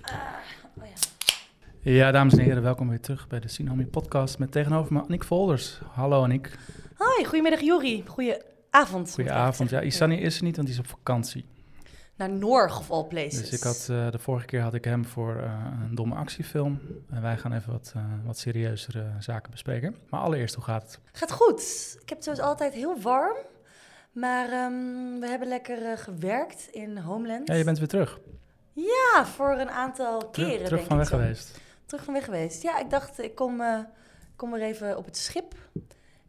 Ah, oh Ja, dames en heren, welkom weer terug bij de Tsunami Podcast met tegenover me Annick Volders. Hallo Annick, Hoi, goedemiddag Jori. Goedenavond. goedenavond. Ja, Isani is er niet, want die is op vakantie. Naar Norg of all places. Dus ik had, eh, de vorige keer had ik hem voor eh, een domme actiefilm. En wij gaan even wat, eh, wat serieuzere eh, zaken bespreken. Maar allereerst, hoe gaat het? Gaat goed. Ik heb het zoals altijd heel warm. Maar ehm, we hebben lekker eh, gewerkt in Homeland. Ja, je bent weer terug. Ja, voor een aantal Terug, keren terug denk van ik weg zo. geweest. Terug van weg geweest. Ja, ik dacht ik kom, eh, ik kom er even op het schip.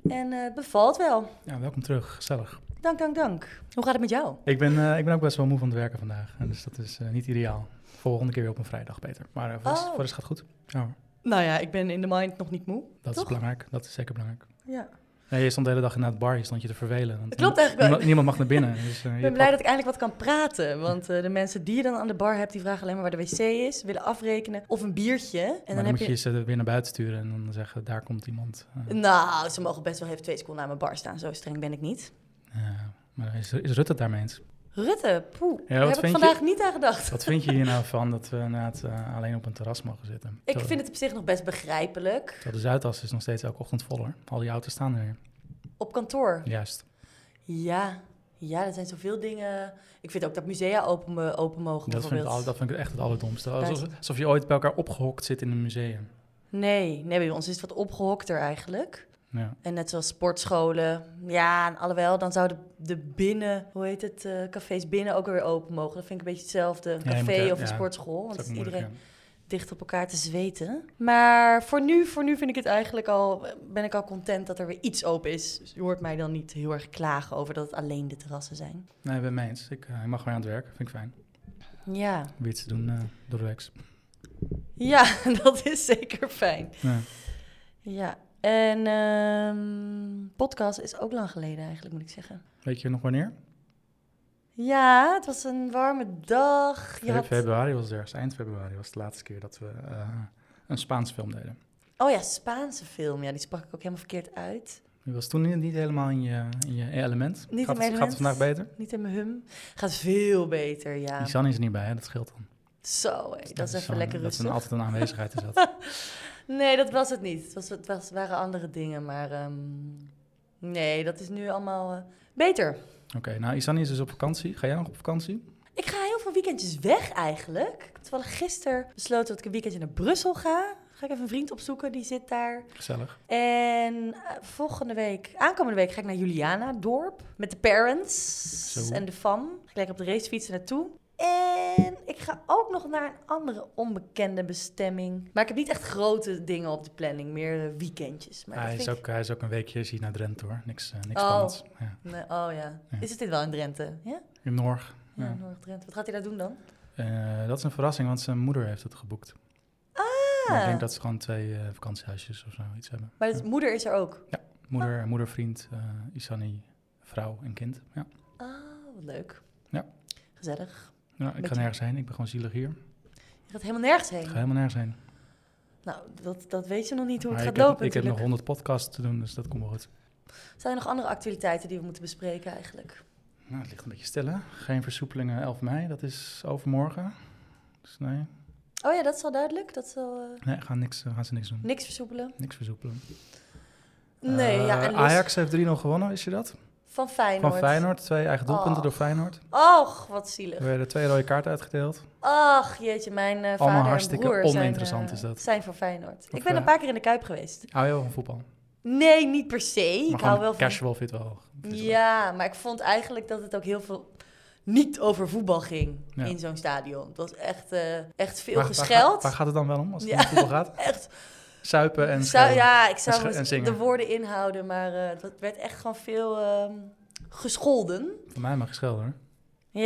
En eh, het bevalt wel. Ja, welkom terug. Gezellig. Dank, dank, dank. Hoe gaat het met jou? Ik ben, eh, ik ben ook best wel moe van het werken vandaag. En dus dat is eh, niet ideaal. Volgende keer weer op een vrijdag beter. Maar eh, voor, de rest- Oh. voor de rest gaat het goed. Ja, hoor. Nou ja, ik ben in de mind nog niet moe. dat Toch? is belangrijk. Dat is zeker belangrijk. Ja. Nee, je stond de hele dag in het bar, je stond je te vervelen. Want Dat klopt eigenlijk wel. niemand, niemand mag naar binnen. Dus, eh, Ik je ben blij pakt- dat ik eindelijk wat kan praten. Want eh, de mensen die je dan aan de bar hebt, die vragen alleen maar waar de wc is, willen afrekenen of een biertje. En maar dan, dan, heb moet je je. ze weer naar buiten sturen en dan zeggen, daar komt iemand. Eh, Nou, ze mogen best wel even twee seconden aan mijn bar staan. Zo streng ben ik niet. eh, maar is, is Rutte het daarmee eens? Rutte, poeh. daar wat heb ik vind je? vandaag niet aan gedacht. Wat vind je hier nou van dat we inderdaad eh, alleen op een terras mogen zitten? Ik Terwijl- vind het op zich nog best begrijpelijk. terwijl de Zuidas is nog steeds elke ochtend vol hoor. Al die auto's staan er weer. Op kantoor. Juist. Ja. Ja, er zijn zoveel dingen. Ik vind ook dat musea open, mo- open mogen, Dat vind, ik bijvoorbeeld. het al- dat vind ik echt het allerdomste. Buiten. Alsof, alsof je ooit bij elkaar opgehokt zit in een museum. Nee, nee, bij ons is het wat opgehokter eigenlijk. Ja. En net zoals sportscholen. Ja, en alhoewel, dan zouden de binnen, hoe heet het, eh, cafés binnen ook weer open mogen. Dat vind ik een beetje hetzelfde. Een Ja, je café moet er- of een ja, sportschool. Dat Want is ook iedereen moeilijk, dicht op elkaar te zweten. Maar voor nu, voor nu vind ik het eigenlijk al, ben ik al content dat er weer iets open is. Dus je hoort mij dan niet heel erg klagen over dat het alleen de terrassen zijn. ja. Nee, ik ben het mee eens. Ik, eh, ik mag weer aan het werk. Vind ik fijn. Ja, Weer iets te doen eh, door de week. ja dat is zeker fijn. Ja. Ja, en ehm, podcast is ook lang geleden eigenlijk, moet ik zeggen. Weet je nog wanneer? Ja, het was een warme dag. Je Fe- had... Februari was het ergens. Eind februari was de laatste keer dat we eh, een Spaans film deden. Oh ja, Spaanse film. Ja, die sprak ik ook helemaal verkeerd uit. Je was toen niet, niet helemaal in je, in je element. in mijn gaat, het, gaat het element. vandaag beter? Niet in mijn hum. Gaat veel beter, ja. Isan is er niet bij, hè? dat scheelt dan. Zo, hé, dat is even zo'n- lekker Dat rustig. er altijd een aanwezigheid is. dat. Nee, dat was het niet. Het, was, het was, waren andere dingen, maar... ehm, nee, dat is nu allemaal eh, beter. Oké, nou Isan is dus op vakantie. Ga jij nog op vakantie? Ik ga heel veel weekendjes weg eigenlijk. Ik heb toevallig gisteren besloten dat ik een weekendje naar Brussel ga. Ga ik even een vriend opzoeken, die zit daar. Gezellig. En eh, volgende week, aankomende week, ga ik naar Juliana Dorp met de parents Zo. en de fam. Ga ik lekker op de racefietsen naartoe. En ik ga ook nog naar een andere onbekende bestemming. Maar ik heb niet echt grote dingen op de planning, meer eh, weekendjes. Maar dat Hij is, vind ik- ook, hij is ook een weekje is hij naar Drenthe hoor. Niks, eh, niks Oh. spannends. Ja. Nee, oh ja. Ja. Is het dit wel in Drenthe? Ja, In Norg. ja, Ja. Noord-Drenthe. Wat gaat hij daar doen dan? Eh, dat is een verrassing, want zijn moeder heeft het geboekt. Maar ik Ah, denk dat ze gewoon twee eh, vakantiehuisjes of zo iets hebben. maar het, moeder is er ook. Moeder, moeder vriend, eh, Isani, vrouw en kind. Ja. Ah, wat leuk. Ja. Gezellig. Ja, ik ga Beetje- nergens heen. Ik ben gewoon zielig hier. Je gaat helemaal nergens heen. Ik ga helemaal nergens heen. Nou, dat, dat weet je nog niet hoe het Maar gaat ik, lopen heb, ik heb nog natuurlijk. honderd podcasts te doen, dus dat komt wel goed. Zijn er nog andere activiteiten die we moeten bespreken eigenlijk? Nou, het ligt een beetje stil, hè? Geen versoepelingen 11 mei, dat is overmorgen. Dus nee, Oh ja, dat is al duidelijk. Dat zal eh, nee gaan, niks, eh, gaan ze niks doen. niks versoepelen. Niks versoepelen. Nee, Eh, ja, en los Ajax heeft 3-0 gewonnen, wist je dat? van Feyenoord. Van Feyenoord, twee eigen doelpunten Oh. door Feyenoord. Och, wat Er zielig. werden twee rode kaarten uitgedeeld. Ach, jeetje, mijn eh vader hartstikke en broer zijn, oninteressant eh, is dat. zijn voor Feyenoord. Of, ik ben een eh, paar keer in de Kuip geweest. Hou je wel van voetbal? Nee, niet per se. maar Ik gewoon hou wel van... casual vindt wel. vindt wel. Ja, maar ik vond eigenlijk dat het ook heel veel niet over voetbal ging Ja. in zo'n stadion. Het was echt, eh, echt veel Waar- waar gaat- Waar, gescheld. gaat het dan wel om als het Ja. om voetbal gaat? echt Suipen en zou, schreeuwen. ja, ik en zou sche- eens en zingen. de woorden inhouden, maar eh, dat werd echt gewoon veel ehm, gescholden. Van mij mag geschelden hoor.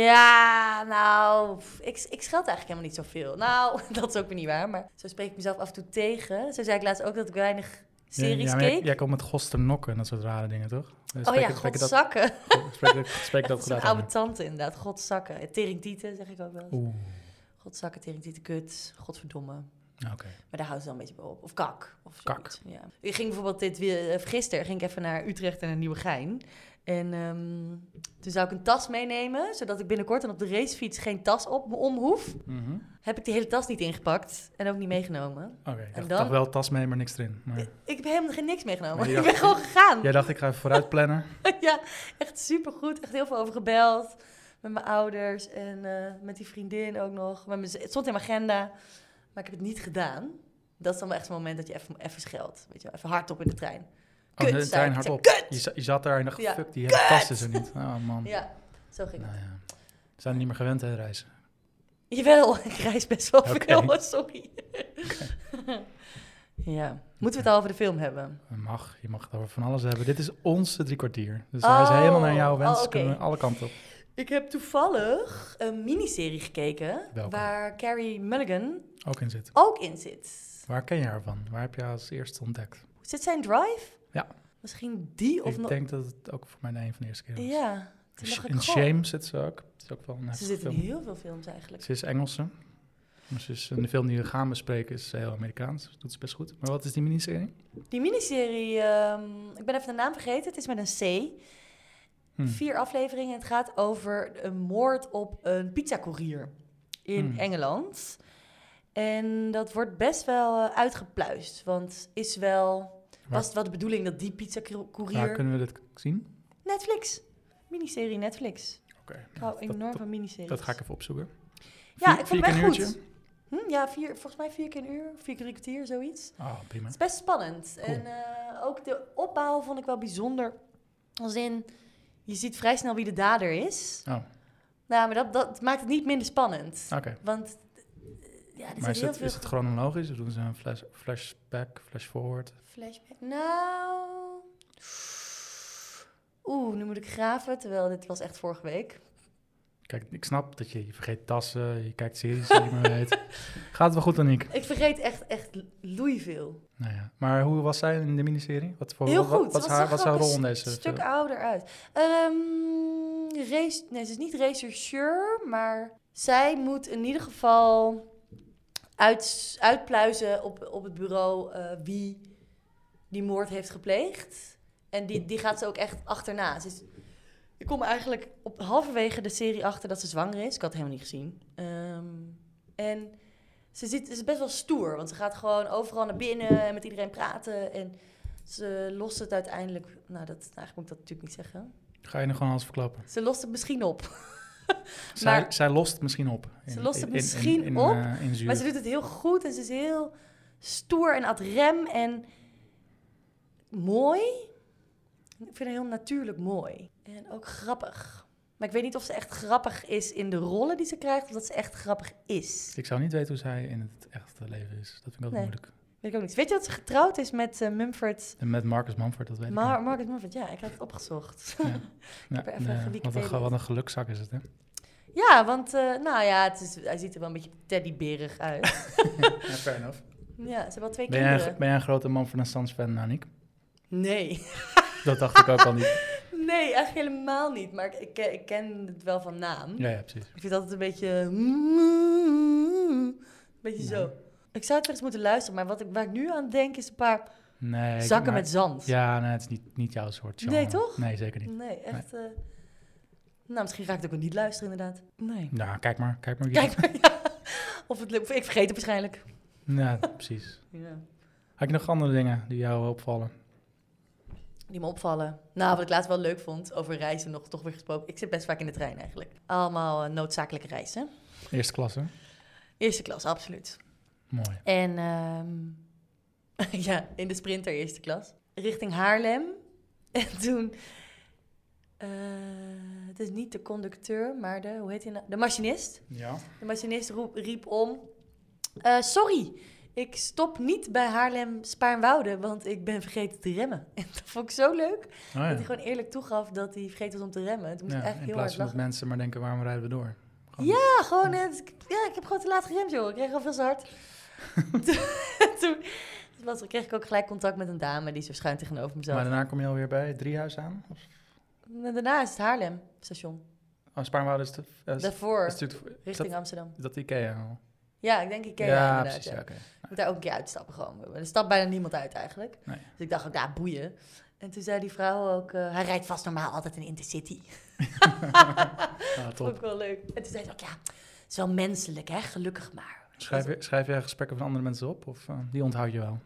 Ja, nou, pff, ik, ik scheld eigenlijk helemaal niet zoveel. Nou, dat is ook weer niet waar, maar zo spreek ik mezelf af en toe tegen. Zo zei ik laatst ook dat ik weinig Ja, series ja, maar jij, keek. jij komt met gosternokken en dat soort rare dingen, toch? Spreek, oh ja, spreek je dat, godzakken. spreek, spreek Dat is dat een gedaan. oude tante inderdaad, godzakken. Teringtieten zeg ik ook wel eens. Oeh. Godzakken, teringtieten, kut, godverdomme. Oké. Maar daar houdt het wel een beetje bij op. Of kak. Of Kak. zoiets, Ja. Ik ging bijvoorbeeld dit weer, eh, gisteren ging ik even naar Utrecht en naar Nieuwegein. En ehm, toen zou ik een tas meenemen, zodat ik binnenkort dan op de racefiets geen tas op me om hoef. Mhm. Heb ik die hele tas niet ingepakt en ook niet meegenomen. Oké, ik dacht, dan? dacht wel tas mee, maar niks erin. Maar Ik heb helemaal geen niks meegenomen. Maar je ik dacht- ben gewoon gegaan. jij dacht, ik ga even vooruit plannen. ja, echt supergoed. Echt heel veel over gebeld. Met mijn ouders en eh, met die vriendin ook nog. Met mijn z- het stond in mijn agenda, maar ik heb het niet gedaan. Dat is dan wel echt zo'n moment dat je even, even scheldt. Weet je wel, even hardop in de trein. Oh, Kut, de zei trein ik. hardop. Ik zei, kut! Je, za- je zat daar en dacht, Ja, fuck, die hele tas is er niet. Oh man. Ja, zo ging het. Nou ja. We zijn niet meer gewend, hè, reizen. Jawel, ik reis best wel Oké. veel, sorry. ja, moeten we het al over de film hebben? Je mag, je mag het over van alles hebben. Dit is onze drie kwartier. Dus hij is helemaal naar jouw Oh, wens. oh, oké. Kunnen we alle kanten op. Ik heb toevallig een miniserie gekeken Welke? waar Oh. Carrie Mulligan Ook in zit. ook in zit. Waar ken je haar van? Waar heb je haar als eerste ontdekt? Zit zij in Drive? Ja. Misschien die of Ik nog... denk dat het ook voor mij een van de eerste keer was. Ja, toen dacht ik, In goh. Shame Dus zit ze ook. Het is ook wel een Ze heftige zit in film. heel veel films eigenlijk. Ze is Engelse. Maar ze is, en de film die we gaan bespreken is eh, heel Amerikaans. Dat doet ze best goed. Maar wat is die miniserie? Die miniserie, ehm, ik ben even de naam vergeten, het is met een C. Hm. Vier afleveringen. Het gaat over een moord op een pizzacourier in Hmm. Engeland. En dat wordt best wel eh, uitgepluist. Want is wel. Waar- Was het wel de bedoeling dat die pizzacourier. Waar kunnen we dit k- zien? Netflix. Miniserie Netflix. Oké. Ik hou dat, enorm dat, van miniseries. dat ga ik even opzoeken. nou, Ja, Vier- ik vond vier het keer echt een goed. uurtje? Hm, ja, vier, volgens mij vier keer een uur, vier keer drie kwartier, zoiets. Oh, prima. Het is best spannend. Cool. En eh, ook de opbouw vond ik wel bijzonder. Als in, je ziet vrij snel wie de dader is. Oh, Nou, maar dat, dat maakt het niet minder spannend. oké. Want eh, ja, er Maar zit is heel het, veel is het chronologisch? Of doen ze een flash, flashback, flashforward? flashback. Nou. Oeh, nu moet ik graven, terwijl dit was echt vorige week. Kijk, ik snap dat je, je vergeet tassen, je kijkt series die je niet meer weet. Gaat wel goed, Aniek? Ik vergeet echt, echt loei veel. Nou ja. Maar hoe was zij in de miniserie? Wat, voor, Heel wat- wat, goed. wat is Wat zag haar, wat is er haar ook rol in een deze stuk film? ouder uit. Ehm, race, nee, ze is niet rechercheur, maar zij moet in ieder geval uit, uitpluizen op, op het bureau eh, wie die moord heeft gepleegd. En die, die gaat ze ook echt achterna. Ze is, ik kom eigenlijk op halverwege de serie achter dat ze zwanger is. Ik had het helemaal niet gezien. Ehm, en ze, zit, ze is best wel stoer, want ze gaat gewoon overal naar binnen en met iedereen praten. En ze lost het uiteindelijk. Nou, dat, eigenlijk moet ik dat natuurlijk niet zeggen. Ga je nog gewoon alles verklappen? Ze lost het misschien op. Zij, Maar- zij lost het misschien op. Ze lost het misschien op, eh, in zuur. Maar ze doet het heel goed en ze is heel stoer en ad rem en mooi. Ik vind haar heel natuurlijk mooi. En ook grappig. Maar ik weet niet of ze echt grappig is in de rollen die ze krijgt, of dat ze echt grappig is. Ik zou niet weten hoe zij in het echte leven is. Dat vind ik altijd Nee. moeilijk. Weet ik ook niet. Weet je dat ze getrouwd is met eh, Mumford? En met Marcus Mumford, dat weet Mar ik Margaret Mumford, ja, ik had het opgezocht. Ja. niet. heb er even nee, wat, een, gewikipedia'd. ge- wat een gelukzak is het, hè? ja, want eh, nou ja, het is, hij ziet er wel een beetje teddyberig uit. fair enough. ja, ze hebben al twee Ben jij, kinderen. een- ben jij een grote man van een Sans fan, Nanik? Nee. Dat dacht ik ook al niet. Nee, echt helemaal niet. Maar ik, ik, ken- ik ken het wel van naam. Ja, ja precies. Ik vind altijd een beetje... Een beetje Ja. zo. Ik zou het wel eens moeten luisteren, maar wat ik, waar ik nu aan denk is een paar Nee, ik- zakken maar- met zand. Ja, nee, het is niet, niet jouw soort genre. Nee, toch? Nee, zeker niet. Nee, echt... eh, nou, misschien ga ik het ook wel niet luisteren inderdaad. Nee. Nou, kijk maar. Kijk maar. wie- Kijk maar, ja. Of het, lukt. ik vergeet het waarschijnlijk. Ja, precies. Ja. Had je nog andere dingen die jou opvallen? Die me opvallen. Nou, wat ik laatst wel leuk vond, over reizen nog toch weer gesproken. Ik zit best vaak in de trein eigenlijk. Allemaal eh, noodzakelijke reizen. Eerste klasse. Eerste klas, absoluut. Mooi. En ehm, ja, in de sprinter eerste klas. Richting Haarlem. En toen... eh, het is niet de conducteur, maar de... Hoe heet hij nou? De machinist. Ja. Oh De machinist roep- riep om... eh, sorry, ik stop niet bij Haarlem Spaarnwoude, want ik ben vergeten te remmen. En dat vond ik zo leuk. Oh, ja. Dat hij gewoon eerlijk toegaf dat hij vergeten was om te remmen. Toen moest Ja, ik echt in heel hard plaats van dat lachen. mensen maar denken, waarom rijden we door? Ja, gewoon, eh, het- ja, ik heb gewoon te laat geremd, joh. Ik kreeg al veel te hard. toen toen was, kreeg ik ook gelijk contact met een dame die zo schuin tegenover me zat. Maar daarna kom je alweer bij Driehuis aan? Of- En daarna is het Haarlem station. Oh, Spaarnwoude is, te, eh, is, is Daarvoor, natuurlijk... is richting dat, Amsterdam. is dat Ikea al? Ja, ik denk Ikea ja, inderdaad. precies. Ja, ja. oké. moet daar ook een keer uitstappen gewoon. Maar Er stapt bijna niemand uit eigenlijk. Nee. Dus ik dacht ook, nou, boeien. En toen zei die vrouw ook, eh, hij rijdt vast normaal altijd een intercity. Ah, Vond top. ik wel leuk. En toen zei ze ook, ja, het is wel menselijk hè, gelukkig maar. Schrijf, je- schrijf jij gesprekken van andere mensen op? Of eh, die onthoud je wel?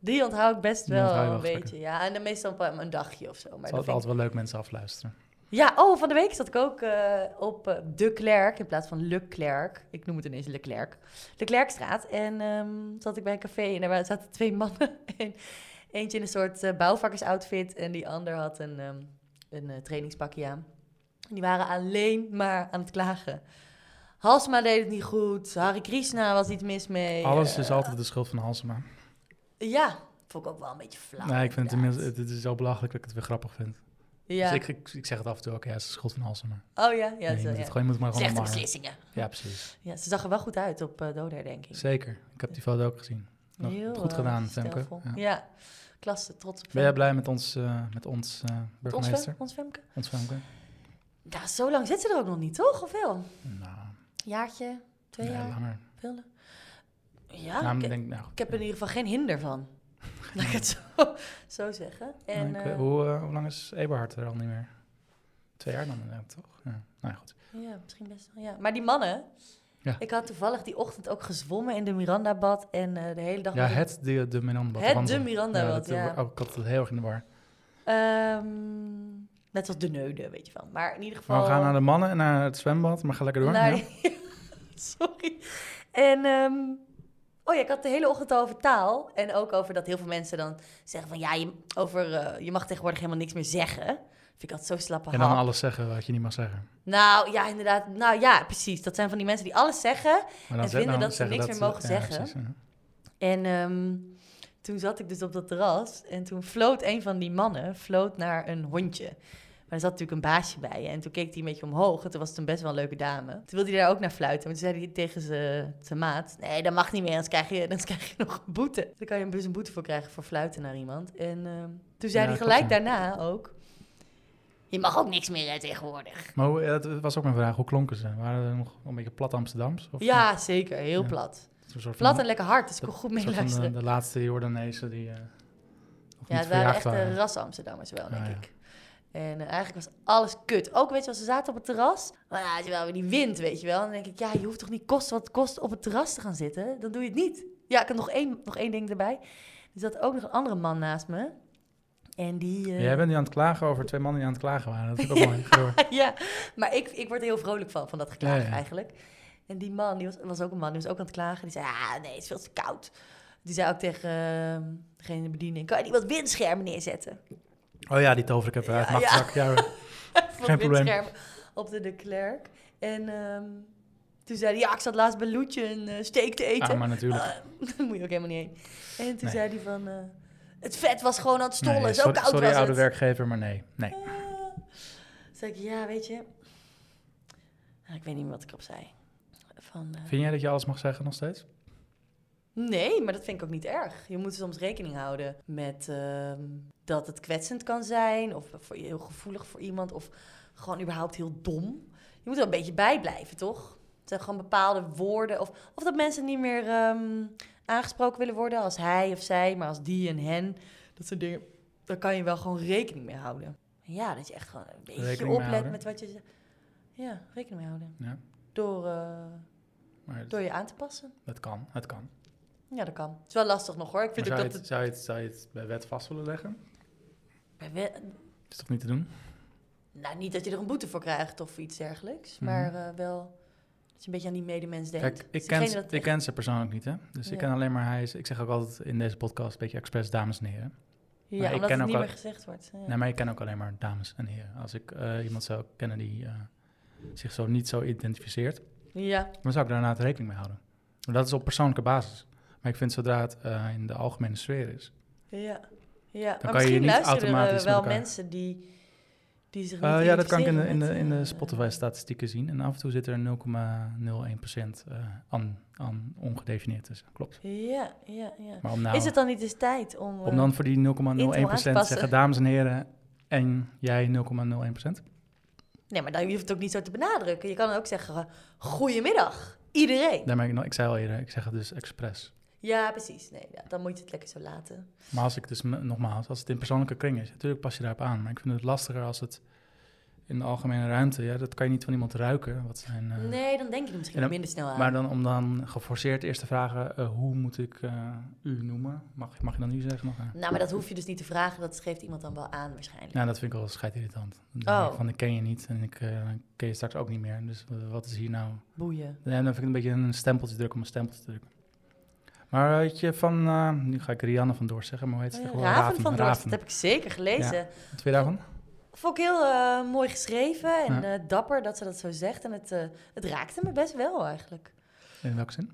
Die onthoud ik best Die wel onthoud je een wel beetje. Ja, en dan meestal op een dagje of zo. Maar dat Het is vind ik- altijd wel leuk mensen afluisteren. Ja, oh, van de week zat ik ook eh, op eh, De Klerk in plaats van Le Klerk. Ik noem het ineens Le Klerk. De Klerkstraat. En ehm, zat ik bij een café en daar wa- zaten twee mannen. En eentje in een soort eh, bouwvakkersoutfit en die ander had een, ehm, een eh, trainingspakje aan. En die waren alleen maar aan het klagen. Halsma deed het niet goed. Hare Krishna was iets mis mee. Alles eh, is altijd de schuld van Halsema. Ja, vond ik ook wel een beetje flauw. Nee, ik vind het inderdaad. inmiddels, het, het is zo belachelijk dat ik het weer grappig vind. Ja. Dus ik, ik, ik zeg het af en toe ook, ja, het is de schuld van Halsema. Oh ja, ja. Nee, je, zo, moet ja. het gewoon, je moet het maar gewoon Slechte omarmen. beslissingen. Ja, precies. Ja, ze zag er wel goed uit op eh Doder, denk ik. Zeker. Ik heb die foto ook gezien. Nog goed eh, gedaan, Femke. stijlvol. Ja. Ja. klasse, trots op Ben jij Femke. blij met ons, eh, met ons eh, Met ons, Fem- burgemeester? ons Femke? Ons Femke? Ja, zo lang zit ze er ook nog niet, toch? Of wel? Nou, Jaartje, twee nee, jaar, langer. veel. Ja, Nou, ik, ik denk, nou, Ah, ik heb er in ieder geval geen hinder van. Laat ik het zo, zo zeggen. En, nou, ik- eh, hoe, eh, hoe lang is Eberhard er al niet meer? Twee jaar dan, inderdaad, toch? Ja. Nou ja, goed. Ja, misschien best wel. Ja. Maar die mannen... Ja. Ik had toevallig die ochtend ook gezwommen in de Mirandabad en eh, de hele dag... Ja, met een- het de, de Miranda. Het de Mirandabad, dat, eh, ja. wo- oh, ik had het heel erg in de war. Ehm, net als de neude, weet je wel. Maar in ieder geval... Maar we gaan naar de mannen en naar het zwembad, maar ga lekker door. Naar- ja. Sorry. En ehm, oh ja, ik had de hele ochtend al over taal. En ook over dat heel veel mensen dan zeggen van ja, je, over, eh, je mag tegenwoordig helemaal niks meer zeggen. Vind ik altijd zo slappe En dan hap. alles zeggen wat je niet mag zeggen. Nou ja, inderdaad. Nou ja, precies. Dat zijn van die mensen die alles zeggen. Maar En dan ze- vinden dan dat ze zeggen niks meer mogen ja, zeggen. precies, ja. En ehm, toen zat ik dus op dat terras. En toen floot een van die mannen floot naar een hondje. Maar er zat natuurlijk een baasje bij. En toen keek hij een beetje omhoog. En toen was het een best wel een leuke dame. Toen wilde hij daar ook naar fluiten. Maar toen zei hij tegen zijn- zijn maat... Nee, dat mag niet meer. Anders krijg je, anders krijg je nog een boete. Dan kan je dus een boete voor krijgen voor fluiten naar iemand. En ehm, toen zei Ja, hij klopt, gelijk ja. daarna ook... Je mag ook niks meer hè, tegenwoordig. Maar hoe, ja, dat was ook mijn vraag, hoe klonken ze? Waren er nog een beetje plat Amsterdams? Of Ja, zeker. Heel Ja. plat. een soort van- Plat en lekker hard. Dus ik kon goed een soort van meeluisteren. de, de laatste Jordanezen die eh nog Ja, het niet waren verjaagd echt eh, waren. een ras Amsterdammers wel, denk Ah, ja. ik. En eh, eigenlijk was alles kut. Ook, weet je wel, ze zaten op het terras. Maar ja, het is wel weer die wind, weet je wel. En dan denk ik, ja, je hoeft toch niet kosten wat het kost op het terras te gaan zitten? Dan doe je het niet. Ja, ik heb nog één, nog één ding erbij. Er zat ook nog een andere man naast me. En die... eh, Ja, Jij bent nu aan het klagen over twee mannen die aan het klagen waren. Dat is ook mooi. Ga door. ja, maar ik, ik word er heel vrolijk van, van dat geklaag Ja, ja. eigenlijk. En die man, die was, was ook een man, die was ook aan het klagen. Die zei, ah nee, het is veel te koud. Die zei ook tegen eh, degene in de bediening, kan je niet wat windschermen neerzetten? Oh ja, die tover ik heb uit Ja, mijn achterzak. Ja, hoor. voor Geen probleem. windscherm op de De Klerk. En ehm, toen zei hij, ja, ik zat laatst bij Loetje een eh, steak te eten. Ah, maar natuurlijk. Eh, daar moet je ook helemaal niet heen. En toen Nee. zei hij van, eh, het vet was gewoon aan het stollen, Nee, zo sorry, koud sorry, was oude het. werkgever, maar nee. nee. Ah. Toen zei ik, ja, weet je, Ah, ik weet niet meer wat ik erop zei. Van, eh, Vind jij dat je alles mag zeggen nog steeds? Nee, maar dat vind ik ook niet erg. Je moet soms rekening houden met ehm, dat het kwetsend kan zijn, of voor, heel gevoelig voor iemand, of gewoon überhaupt heel dom. Je moet er een beetje bij blijven, toch? Het zijn gewoon bepaalde woorden, of, of dat mensen niet meer ehm, aangesproken willen worden als hij of zij, maar als die en hen. Dat soort dingen, daar kan je wel gewoon rekening mee houden. Ja, dat je echt gewoon een beetje Rekening mee oplet houden. met wat je zegt. Ja, rekening mee houden. Ja. Dus Door, eh, Maar door je aan te passen. het kan, het kan. Ja, dat kan. Het is wel lastig nog hoor. Ik Maar vind zou, ook je dat het, het zou, je het, zou je het bij wet vast willen leggen? Bij we- Dat is toch niet te doen? Nou, niet dat je er een boete voor krijgt of iets dergelijks. Mhm. Maar eh, wel dat je een beetje aan die medemens denkt. Kijk, Dus ik ken, degene ze, dat- ik ken ze persoonlijk niet, hè? Dus Ja. ik ken alleen maar hij. is- Ik zeg ook altijd in deze podcast een beetje expres dames en heren. Ja, maar ik omdat ken het ook niet wel- meer gezegd wordt. Ja. Nee, maar ik ken ook alleen maar dames en heren. Als ik eh, iemand zou kennen die eh, zich zo niet zo identificeert, ja. dan zou ik daar inderdaad rekening mee houden. Maar dat is op persoonlijke basis. Maar ik vind zodra het eh, in de algemene sfeer is. ja, ja. maar kan je misschien niet luisteren er, eh, automatisch met wel elkaar. mensen die, die zich niet Eh, ja, dat kan ik in de, in de, identificeren in de met, eh, Spotify-statistieken zien. En af en toe zit er 0,01% eh aan, aan ongedefinieerd tussen. Klopt. Ja, ja, ja. Maar om, nou, Is het dan niet eens tijd om... om eh, dan voor die 0,01% aan te te passen? zeggen, dames en heren, en jij 0,01%? Nee, maar dan, je hoeft het ook niet zo te benadrukken. Je kan ook zeggen, eh, goedemiddag, iedereen. Daar merk ik, nog- ik zei al eerder, ik zeg het dus expres. Ja, precies. Nee, ja, dan moet je het lekker zo laten. Maar als ik dus, m- nogmaals, als het in persoonlijke kring is, natuurlijk pas je daarop aan. Maar ik vind het lastiger als het in de algemene ruimte, ja, dat kan je niet van iemand ruiken. Wat zijn, eh, Nee, dan denk je er misschien en dan- minder snel aan. Maar dan om dan geforceerd eerst te vragen, eh, hoe moet ik eh, u noemen? Mag, mag je dan u zeggen? Nog, eh? Nou, maar dat hoef je dus niet te vragen. Dat geeft iemand dan wel aan waarschijnlijk. Nou, dat vind ik wel scheidirritant. Dan denk ik Oh. Van, ik ken je niet en ik eh, ken je straks ook niet meer. Dus eh, wat is hier nou? Boeien. En dan vind ik het een beetje een stempeltje drukken om een stempel te drukken. Maar weet je, van, eh, nu ga ik Rianne van Doors zeggen, maar hoe heet ze? Oh ja, tegenwoordig? Raven van Dorst, Raven. dat heb ik zeker gelezen. Wat vind je daarvan? Vond ik heel eh, mooi geschreven en Ja. eh, dapper dat ze dat zo zegt. En het, eh, het raakte me best wel eigenlijk. In welke zin?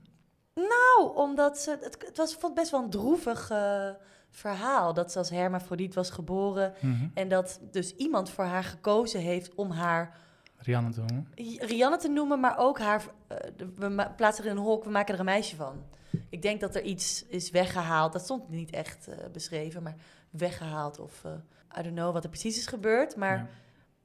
Nou, omdat ze. Het, het was vond ik best wel een droevig eh, verhaal. Dat ze als hermafrodiet was geboren. Mhm. En dat dus iemand voor haar gekozen heeft om haar Rianne te noemen. Rianne te noemen, maar ook haar. eh, de- we ma- plaatsen er in een hok, we maken er een meisje van. Ik denk dat er iets is weggehaald. Dat stond niet echt eh, beschreven, maar weggehaald. Of eh I don't know wat er precies is gebeurd. Maar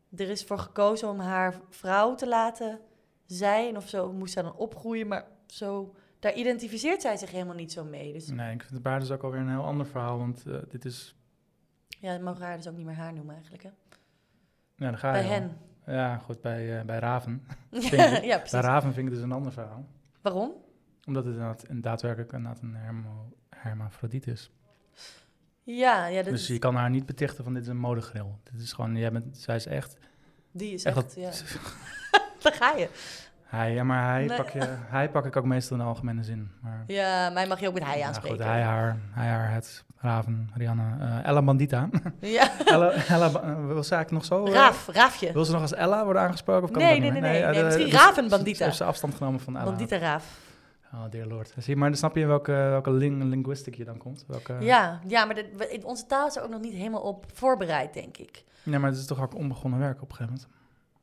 Ja. er is voor gekozen om haar vrouw te laten zijn of zo. Moest zij dan opgroeien, maar zo, daar identificeert zij zich helemaal niet zo mee. Dus Nee, ik vind het baard dus ook alweer een heel ander verhaal, want eh, dit is... ja, we mogen haar dus ook niet meer haar noemen eigenlijk, hè? Ja, daar ga Bij je al. hen. Ja, goed, bij, eh, bij Raven. Denk ik. ja, Bij precies. Raven vind ik het dus een ander verhaal. Waarom? Omdat het inderdaad, een daadwerkelijk inderdaad een hermo, hermafrodiet is. Ja, ja dat dus is, je kan haar niet betichten van dit is een modegril. Dit is gewoon, jij bent, zij is echt... die is echt echt, wat- ja. Daar ga je. Hij, ja, maar hij, Nee. pak je, hij pak ik ook meestal in de algemene zin. Maar, Ja, mij mag je ook met hij Nou aanspreken. goed, hij, haar, hij, haar, het, Raven, Rihanna, eh, Ella Bandita. Ja, Ella, Ella Ba- eh, wil ze eigenlijk nog zo... eh, Raaf, Raafje. Wil ze nog als Ella worden aangesproken? Of kan Nee, dat nee, niet nee, meer? nee, nee, eh, misschien dus- Raven ze- Bandita. Ze heeft ze afstand genomen van Ella. Bandita Raaf. Oh, dear lord. Zie, je, maar dan snap je welke, welke ling, linguistic je dan komt. Welke, Ja, ja maar dat- we- onze taal is er ook nog niet helemaal op voorbereid, denk ik. Nee, maar het is toch ook onbegonnen werk op een gegeven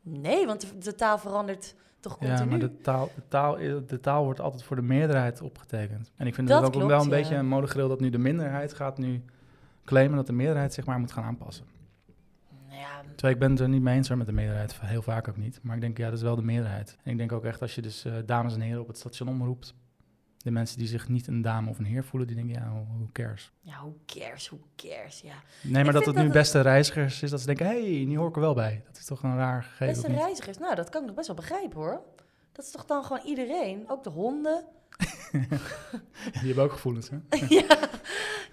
moment. Nee, want de, de taal verandert toch continu. Ja, maar de taal, de, taal, i- de taal wordt altijd voor de meerderheid opgetekend. En ik vind Dat dat, ook klopt, wel een ja. beetje een modegril dat nu de minderheid gaat nu claimen dat de meerderheid zich maar moet gaan aanpassen. Ja, Terwijl ik ben het er niet mee eens hoor, met de meerderheid, heel vaak ook niet. Maar ik denk, ja, dat is wel de meerderheid. En ik denk ook echt als je dus eh, dames en heren op het station omroept, de mensen die zich niet een dame of een heer voelen, die denken, ja, who who cares? Ja, hoe cares, hoe cares, ja. Nee, maar dat vind het nu dat het- beste reizigers is, dat ze denken, hé, hey, nu hoor ik er wel bij. Dat is toch een raar gegeven, Beste of niet? reizigers, nou, dat kan ik nog best wel begrijpen, hoor. Dat is toch dan gewoon iedereen, ook de honden. Die hebben ook gevoelens, hè? ja.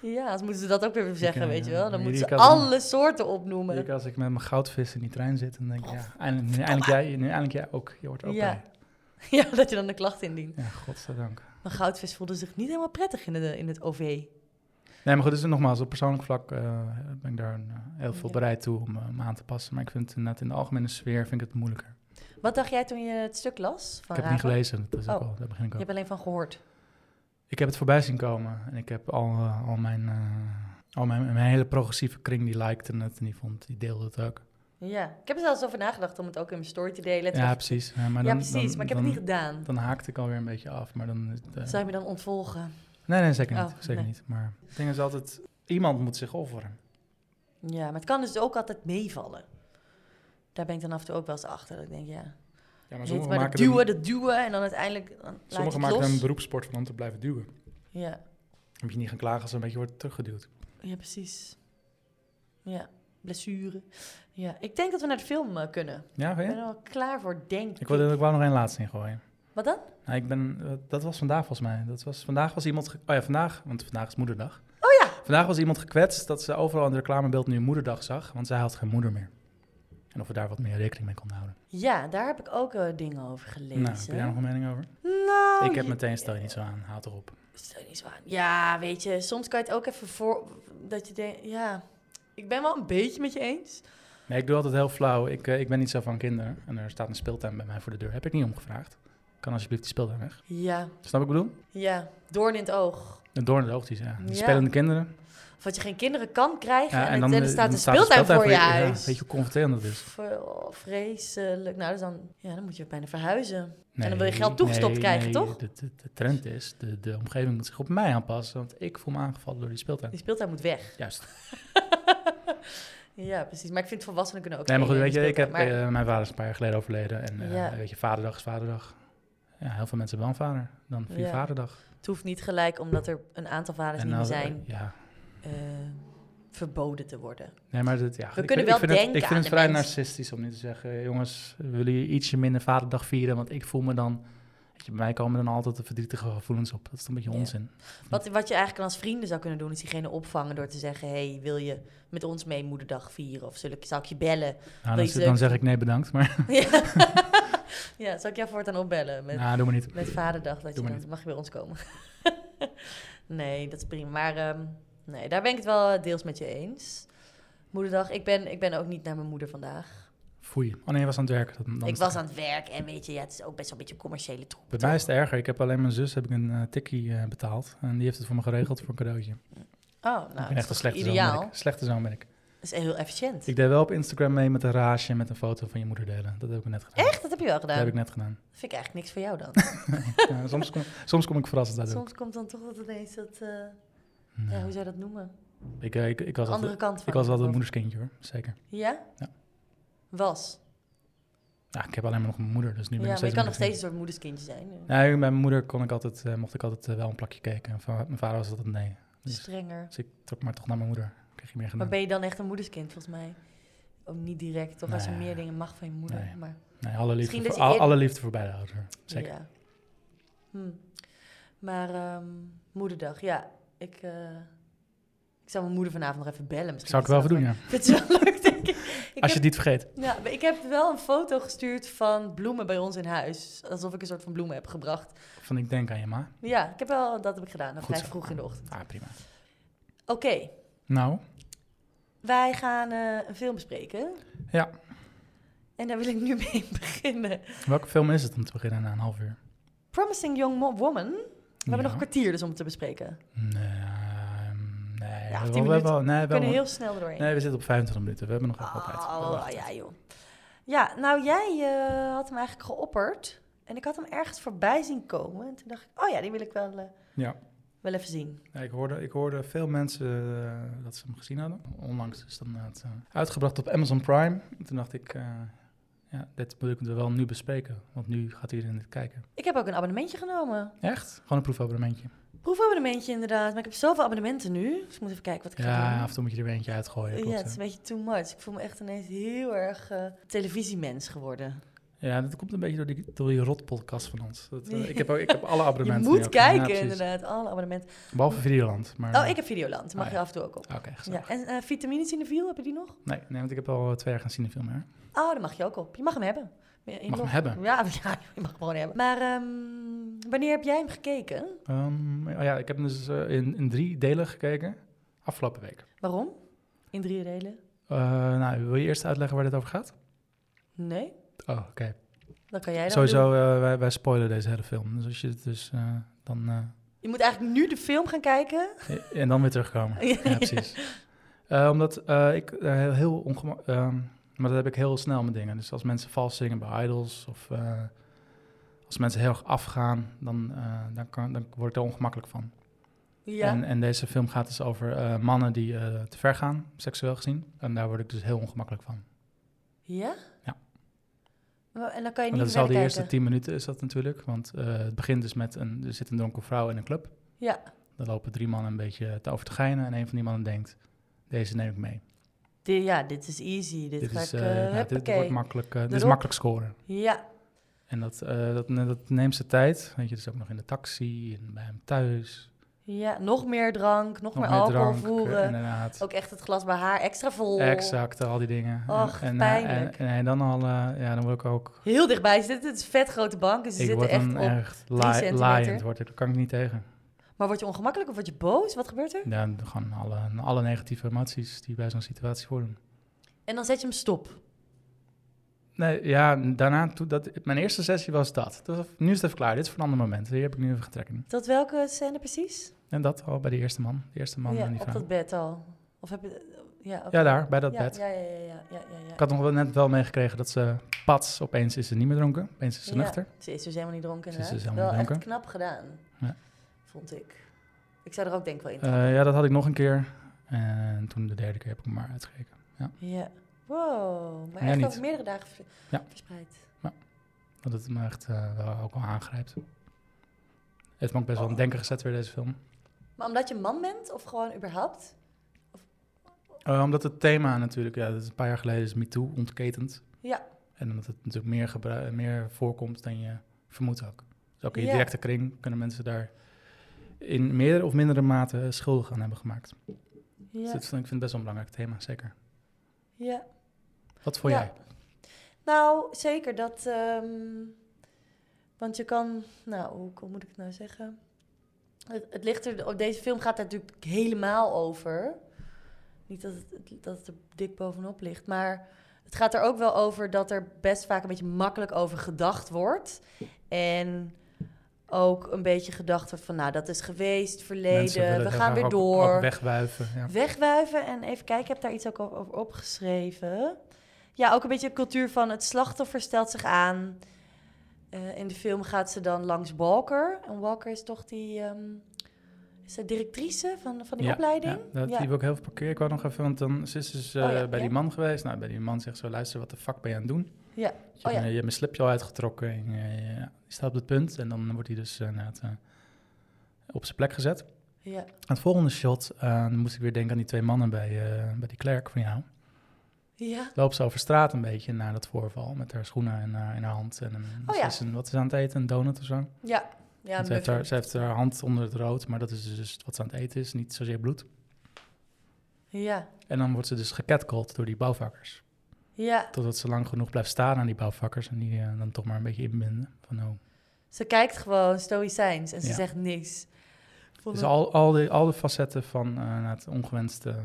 ja, anders moeten ze dat ook weer zeggen, Ik, eh, weet je wel. Dan jullie moeten ze kan- alle soorten opnoemen. Ik, als ik met mijn goudvis in die trein zit, dan denk ik, ja, eindelijk, nu, eindelijk jij, nu eindelijk jij ook. Je hoort er ook Ja. bij. ja, dat je dan de klacht indient. Ja, godzijdank. Maar goudvis voelde zich niet helemaal prettig in, de, in het OV. Nee, maar goed, dus nogmaals, op persoonlijk vlak eh, ben ik daar eh, heel veel Ja. bereid toe om eh, me aan te passen. Maar ik vind het inderdaad in de algemene sfeer vind ik het moeilijker. Wat dacht jij toen je het stuk las? Van ik heb het niet Raven? gelezen, dat is ook Oh. al, daar begin ik Je ook. hebt alleen van gehoord. Ik heb het voorbij zien komen en ik heb al, eh, al, mijn, eh, al mijn, mijn hele progressieve kring die likte het en die vond, die deelde het ook. Ja, ik heb er zelfs over nagedacht om het ook in mijn story te delen. Toen ja, dacht ik- precies. Ja, maar ja, dan, precies, dan- maar ik heb dan, het niet gedaan. Dan haakte ik alweer een beetje af, maar dan... is het, eh, Zou je me dan ontvolgen? Nee, nee, zeker niet. Oh, zeker nee. niet. Maar het ding is altijd, iemand moet zich offeren. Ja, maar het kan dus ook altijd meevallen. Daar ben ik dan af en toe ook wel eens achter. Dat ik denk, ja, Ja, maar maar heet sommigen maar dat maken, duwen, er, dat duwen en dan uiteindelijk dan laat je sommigen het maken er los. een beroepssport van om te blijven duwen. Ja, Dan moet je niet gaan klagen als er een beetje wordt teruggeduwd. ja, precies. Ja, blessure. Ja, ik denk dat we naar de film eh, kunnen. Ja, Ik vind ben je? er al klaar voor, denk ik. Ik wilde er ook wel nog één laatste in gooien. Wat dan? Nou, ik ben, eh, dat was vandaag volgens mij. Dat was, vandaag was iemand... ge- oh ja, vandaag, want vandaag is moederdag. Oh ja! Vandaag was iemand gekwetst dat ze overal in het reclamebeeld nu moederdag zag, want zij had geen moeder meer. En of we daar wat meer rekening mee konden houden. Ja, daar heb ik ook eh, dingen over gelezen. Nou, heb je daar nog een mening over? Nou, ik heb je- meteen, stel je niet zo aan, haat erop. Stel je niet zo aan. Ja, weet je, soms kan je het ook even voor... Dat je denkt, ja... Ik ben wel een beetje met je eens. Nee, ik doe altijd heel flauw. Ik, eh, ik ben niet zo van kinderen. En er staat een speeltuin bij mij voor de deur. Heb ik niet omgevraagd. Kan alsjeblieft die speeltuin weg. Ja, Snap ik wat ik bedoel? ja. Doorn in het oog. Een doorn in het oog, die is, ja. Ja. Die spelende kinderen. Of dat je geen kinderen kan krijgen Ja, en, het- en er eh, staat dan een speeltuin voor je ja, huis. weet je hoe confronterend dat is? Pff, oh, vreselijk. Nou, dus dan, ja, dan moet je bijna verhuizen. Nee, dan wil je geld toegestopt krijgen, toch? De, de, de trend is, de, de omgeving moet zich op mij aanpassen. Want ik voel me aangevallen door die speeltuin. Die speeltuin moet weg. Juist. ja, precies. Maar ik vind volwassenen kunnen ook Nee, maar goed, spelen weet in je, de ik heb, speeltuin. Maar eh, mijn vader is een paar jaar geleden overleden. En eh, Ja. weet je, vaderdag is vaderdag. Ja, heel veel mensen hebben wel een vader. Dan vier Ja. vaderdag. Het hoeft niet gelijk, omdat er een aantal vaders niet meer als- zijn, Ja. eh, verboden te worden. Nee, maar dat, ja, We ik kunnen vind- wel ik vind denken Het, ik vind aan het de vrij mens. narcistisch om nu te zeggen... jongens, willen jullie ietsje minder vaderdag vieren? Want ik voel me dan... Weet je, bij mij komen dan altijd de verdrietige gevoelens op. Dat is een beetje Ja. onzin. Wat, wat je eigenlijk als vrienden zou kunnen doen, is diegene opvangen door te zeggen... hey, wil je met ons mee moederdag vieren? Of zal ik, zal ik je bellen? Nou, Wil dan, je zit- leuk- dan zeg ik nee, bedankt. Maar ja. ja, zal ik jou voortaan opbellen met, nou, doe maar niet. met vaderdag? Dat je Doe maar dan, mag je bij ons komen? nee, dat is prima. Maar ehm, nee, daar ben ik het wel eh, deels met je eens. Moederdag, ik ben, ik ben ook niet naar mijn moeder vandaag. Foei. Oh nee, je was aan het werk. Dan, dan ik is het- was aan het werk en weet je, ja, het is ook best wel een beetje commerciële troep. Bij mij is het erger. Ik heb alleen mijn zus heb ik een eh, tikkie eh, betaald. En die heeft het voor me geregeld voor een cadeautje. Oh, nou, dat ik ben is echt een toch slechte ideaal. zoon ben ik. Slechte zoon ben ik. Dat is heel efficiënt. Ik deed wel op Instagram mee met een raasje met een foto van je moeder delen. Dat heb ik net gedaan. Echt, dat heb je wel Dat gedaan. heb ik net gedaan. Dat vind ik eigenlijk niks voor jou dan. Ja, soms, kom, soms kom ik verrassend uit. Soms komt dan toch dat ineens dat... eh, Nou, Ja, hoe zou je dat noemen? ik, eh, ik, ik was Andere altijd, kant van ik was het altijd een geloof. moederskindje hoor, zeker. Ja? Ja. Was. Ja, Nou, ik heb alleen maar nog mijn moeder, dus nu ben ja, ik maar je steeds kan nog een steeds een moederskindje. soort moederskindje zijn. eh, Nee, bij mijn moeder kon ik altijd, eh, mocht ik altijd eh, wel een plakje cake. En van mijn vader was altijd nee. Dus, Strenger. dus ik trok maar toch naar mijn moeder. Kreeg je meer Maar gedaan. ben je dan echt een moederskind, volgens mij? Ook niet direct. Of als je Nee. meer dingen mag van je moeder. Nee. Maar, Nee, alle liefde, Misschien dat voor, je al- eer- alle liefde voor beide ouders. hoor. Zeker. Ja. Hm. Maar ehm, moederdag, ja. Ik, eh, ik zou mijn moeder vanavond nog even bellen. Misschien Zou ik wel is even dat doen, ja. Dat is wel leuk, denk ik. ik Als je heb, het niet vergeet. ja, maar ik heb wel een foto gestuurd van bloemen bij ons in huis. Alsof ik een soort van bloemen heb gebracht. Van ik denk aan je ma. Ja, ik heb wel, dat heb ik gedaan. nog Goed Vrij zo. vroeg in de ochtend. Ah, prima. Oké, Nou, wij gaan eh, een film bespreken. Ja. En daar wil ik nu mee beginnen. welke film is het om te beginnen na een half uur? Promising Young Mo- Woman. We hebben nog een Ja. kwartier dus om het te bespreken. Nee, ehm, nee, Ja, we, 10 we hebben al- nee, We wel, kunnen heel snel doorheen. nee, we zitten op 25 minuten. We hebben nog wel wat tijd. We oh, wachten. ja joh. Ja, nou jij eh, had hem eigenlijk geopperd. En ik had hem ergens voorbij zien komen. En toen dacht ik, oh ja, die wil ik wel, eh, Ja. wel even zien. Ja, ik, hoorde, ik hoorde veel mensen eh, dat ze hem gezien hadden. Onlangs is dan het eh, uitgebracht op Amazon Prime. En toen dacht ik, eh, ja, dit moeten we wel nu bespreken. Want nu gaat iedereen dit kijken. Ik heb ook een abonnementje genomen. Echt? Gewoon een proefabonnementje. Proefabonnementje inderdaad. Maar ik heb zoveel abonnementen nu. Dus ik moet even kijken wat ik ga doen. Ja, af en toe moet je er weer eentje uitgooien. Ja, klopt, het is een beetje too much. Ik voel me echt ineens heel erg eh, televisiemens geworden. Ja, dat komt een beetje door die, door die rotpodcast van ons. Dat, eh, ik, heb ook, ik heb alle Je abonnementen. nu moet ook. Ja, kijken, precies. inderdaad. Alle abonnementen. Behalve Videoland. Maar, Oh, ik heb Videoland. Mag Ah, je ja. af en toe ook op. Oké, gezellig. Ja. En eh vitamines in de viel, heb je die nog? Nee, nee, want ik heb al eh, twee jaar gaan zien film, hè? Oh, dat mag je ook op. Je mag hem hebben. Je Mag hem hebben? Ja, ja, je mag hem gewoon hebben. Maar ehm, wanneer heb jij hem gekeken? Ehm, oh ja, ik heb hem dus eh, in, in drie delen gekeken afgelopen week. Waarom? In drie delen? Eh, nou, wil je eerst uitleggen waar dit over gaat? Nee? Oh, oké. Dan kan jij dat doen. Sowieso, eh, wij, wij spoilen deze hele film. Dus als je het dus eh, dan... eh, Je moet eigenlijk nu de film gaan kijken. en dan weer terugkomen. Ja. Ja, precies. Eh, omdat eh, ik eh, heel- heel ongemakkelijk... maar dat heb ik heel snel met dingen. Dus als mensen vals zingen bij idols of... eh, als mensen heel erg afgaan, dan, eh, dan, kan, dan word ik er ongemakkelijk van. Ja. En, en deze film gaat dus over eh, mannen die eh, te ver gaan, seksueel gezien. En daar word ik dus heel ongemakkelijk van. Ja? Ja. Maar- En dan kan je En niet dat meer is al de kijken. eerste tien minuten is dat natuurlijk. Want eh, het begint dus met een, er zit een donkere vrouw in een club. Ja. Daar lopen drie mannen een beetje te over te geinen. En een van die mannen denkt, deze neem ik mee. Di- ja, dit is easy. Dit, ga ik... is, eh, eh, nou, dit huppakee. wordt makkelijk, eh, dit is Erop. makkelijk scoren. Ja. En dat, eh, dat, dat neemt ze tijd. Weet je, dus ook nog in de taxi en bij hem thuis. ja, nog meer drank, nog, Nog meer meer alcohol drank, eh, voeren. inderdaad. Ook echt het glas bij haar extra vol. Exact, al die dingen. Och, en, eh, en, pijnlijk. en, en dan al, eh, ja, dan word ik ook Heel dichtbij zitten. Het is vet grote bank, dus ze Ik zitten word echt dan eh, op. echt drie li- centimeter. laaiend, word ik, daar kan ik niet tegen. Maar word je ongemakkelijk of word je boos? Wat gebeurt er? Ja, gewoon alle, alle negatieve emoties die bij zo'n situatie voordoen. En dan zet je hem stop. Nee, ja, daarna, toe, dat, mijn eerste sessie was dat. Dus nu is het even klaar, dit is voor een ander moment. Hier heb ik nu even getrekken. Tot welke scène precies? En dat al bij de eerste man, de eerste man ja, en die op vrouw. dat bed al. Of heb je... Ja, oké. Ja, daar, bij dat ja, bed. Ja, ja, ja, ja, ja, ja, ja. Ik had nog wel net wel meegekregen dat ze, pats, opeens is ze niet meer dronken. Opeens is ze Ja, nuchter. Ze is dus helemaal niet dronken Ze is dus inderdaad. helemaal wel niet echt knap gedaan, Ja. vond ik. Ik zou er ook denk ik wel in Eh, ja, dat had ik nog een keer. En toen de derde keer heb ik hem maar uitgekeken. Ja. Wow, maar Jij echt niet. over meerdere dagen vers- Ja. verspreid. Dat het me echt eh, wel ook wel aangrijpt. heeft me ook best wel aan het denken gezet weer, deze film. Maar omdat je man bent of gewoon überhaupt? Eh, omdat het thema natuurlijk, ja, dat is een paar jaar geleden is MeToo ontketend. Ja. En omdat het natuurlijk meer, gebru- meer voorkomt dan je vermoedt ook. Dus ook in je Ja. directe kring kunnen mensen daar in meer of mindere mate schuldig aan hebben gemaakt. Dus Ja. dit vind ik vind het best wel een belangrijk thema, zeker. ja. Wat voor Ja. jij? Nou, zeker dat. ehm, want je kan. Nou, hoe, hoe moet ik het nou zeggen? Het, het ligt er. oh, Deze film gaat daar natuurlijk helemaal over. Niet dat het, dat het er dik bovenop ligt. Maar het gaat er ook wel over dat er best vaak een beetje makkelijk over gedacht wordt. En ook een beetje gedacht wordt van, nou, dat is geweest, Mensen verleden, willen we heel gaan graag weer ook- door. ook wegwuiven. Ja. Wegwuiven en even kijken, ik heb daar iets ook o- over opgeschreven. Ja, ook een beetje een cultuur van het slachtoffer stelt zich aan. Eh, in de film gaat ze dan langs Walker. En Walker is toch die... ehm, is de directrice van, van die Ja, opleiding? Ja, dat, Ja. Die wil ik heel veel parkeren. Ik wou nog even, want dan ze is dus eh, Oh ja, bij ja. die man geweest. Nou, bij die man zegt zo, luister, wat de fuck ben je aan het doen? Ja, Dus je, oh ja. hebt, eh, je hebt mijn slipje al uitgetrokken. En, eh, je staat op het punt en dan wordt hij dus eh, inderdaad, eh, op zijn plek gezet. Ja. Aan het volgende shot eh, dan moest ik weer denken aan die twee mannen bij, eh, bij die klerk van jou. Ja. Loopt ze over straat een beetje naar dat voorval met haar schoenen in, haar- in haar hand. En een, Oh ze ja. is een, wat is ze aan het eten? Een donut of zo? Ja. Ja, Want een ze, heeft haar, muffin. ze heeft haar hand onder het rood, maar dat is dus wat ze aan het eten is, niet zozeer bloed. ja. En dan wordt ze dus gecatcalled door die bouwvakkers. Ja. Totdat ze lang genoeg blijft staan aan die bouwvakkers en die eh, dan toch maar een beetje inbinden. Van, oh. Ze kijkt gewoon stoïcijns en ze Ja. zegt niks. Vond Dus het- al, al, de, al de facetten van eh, het ongewenste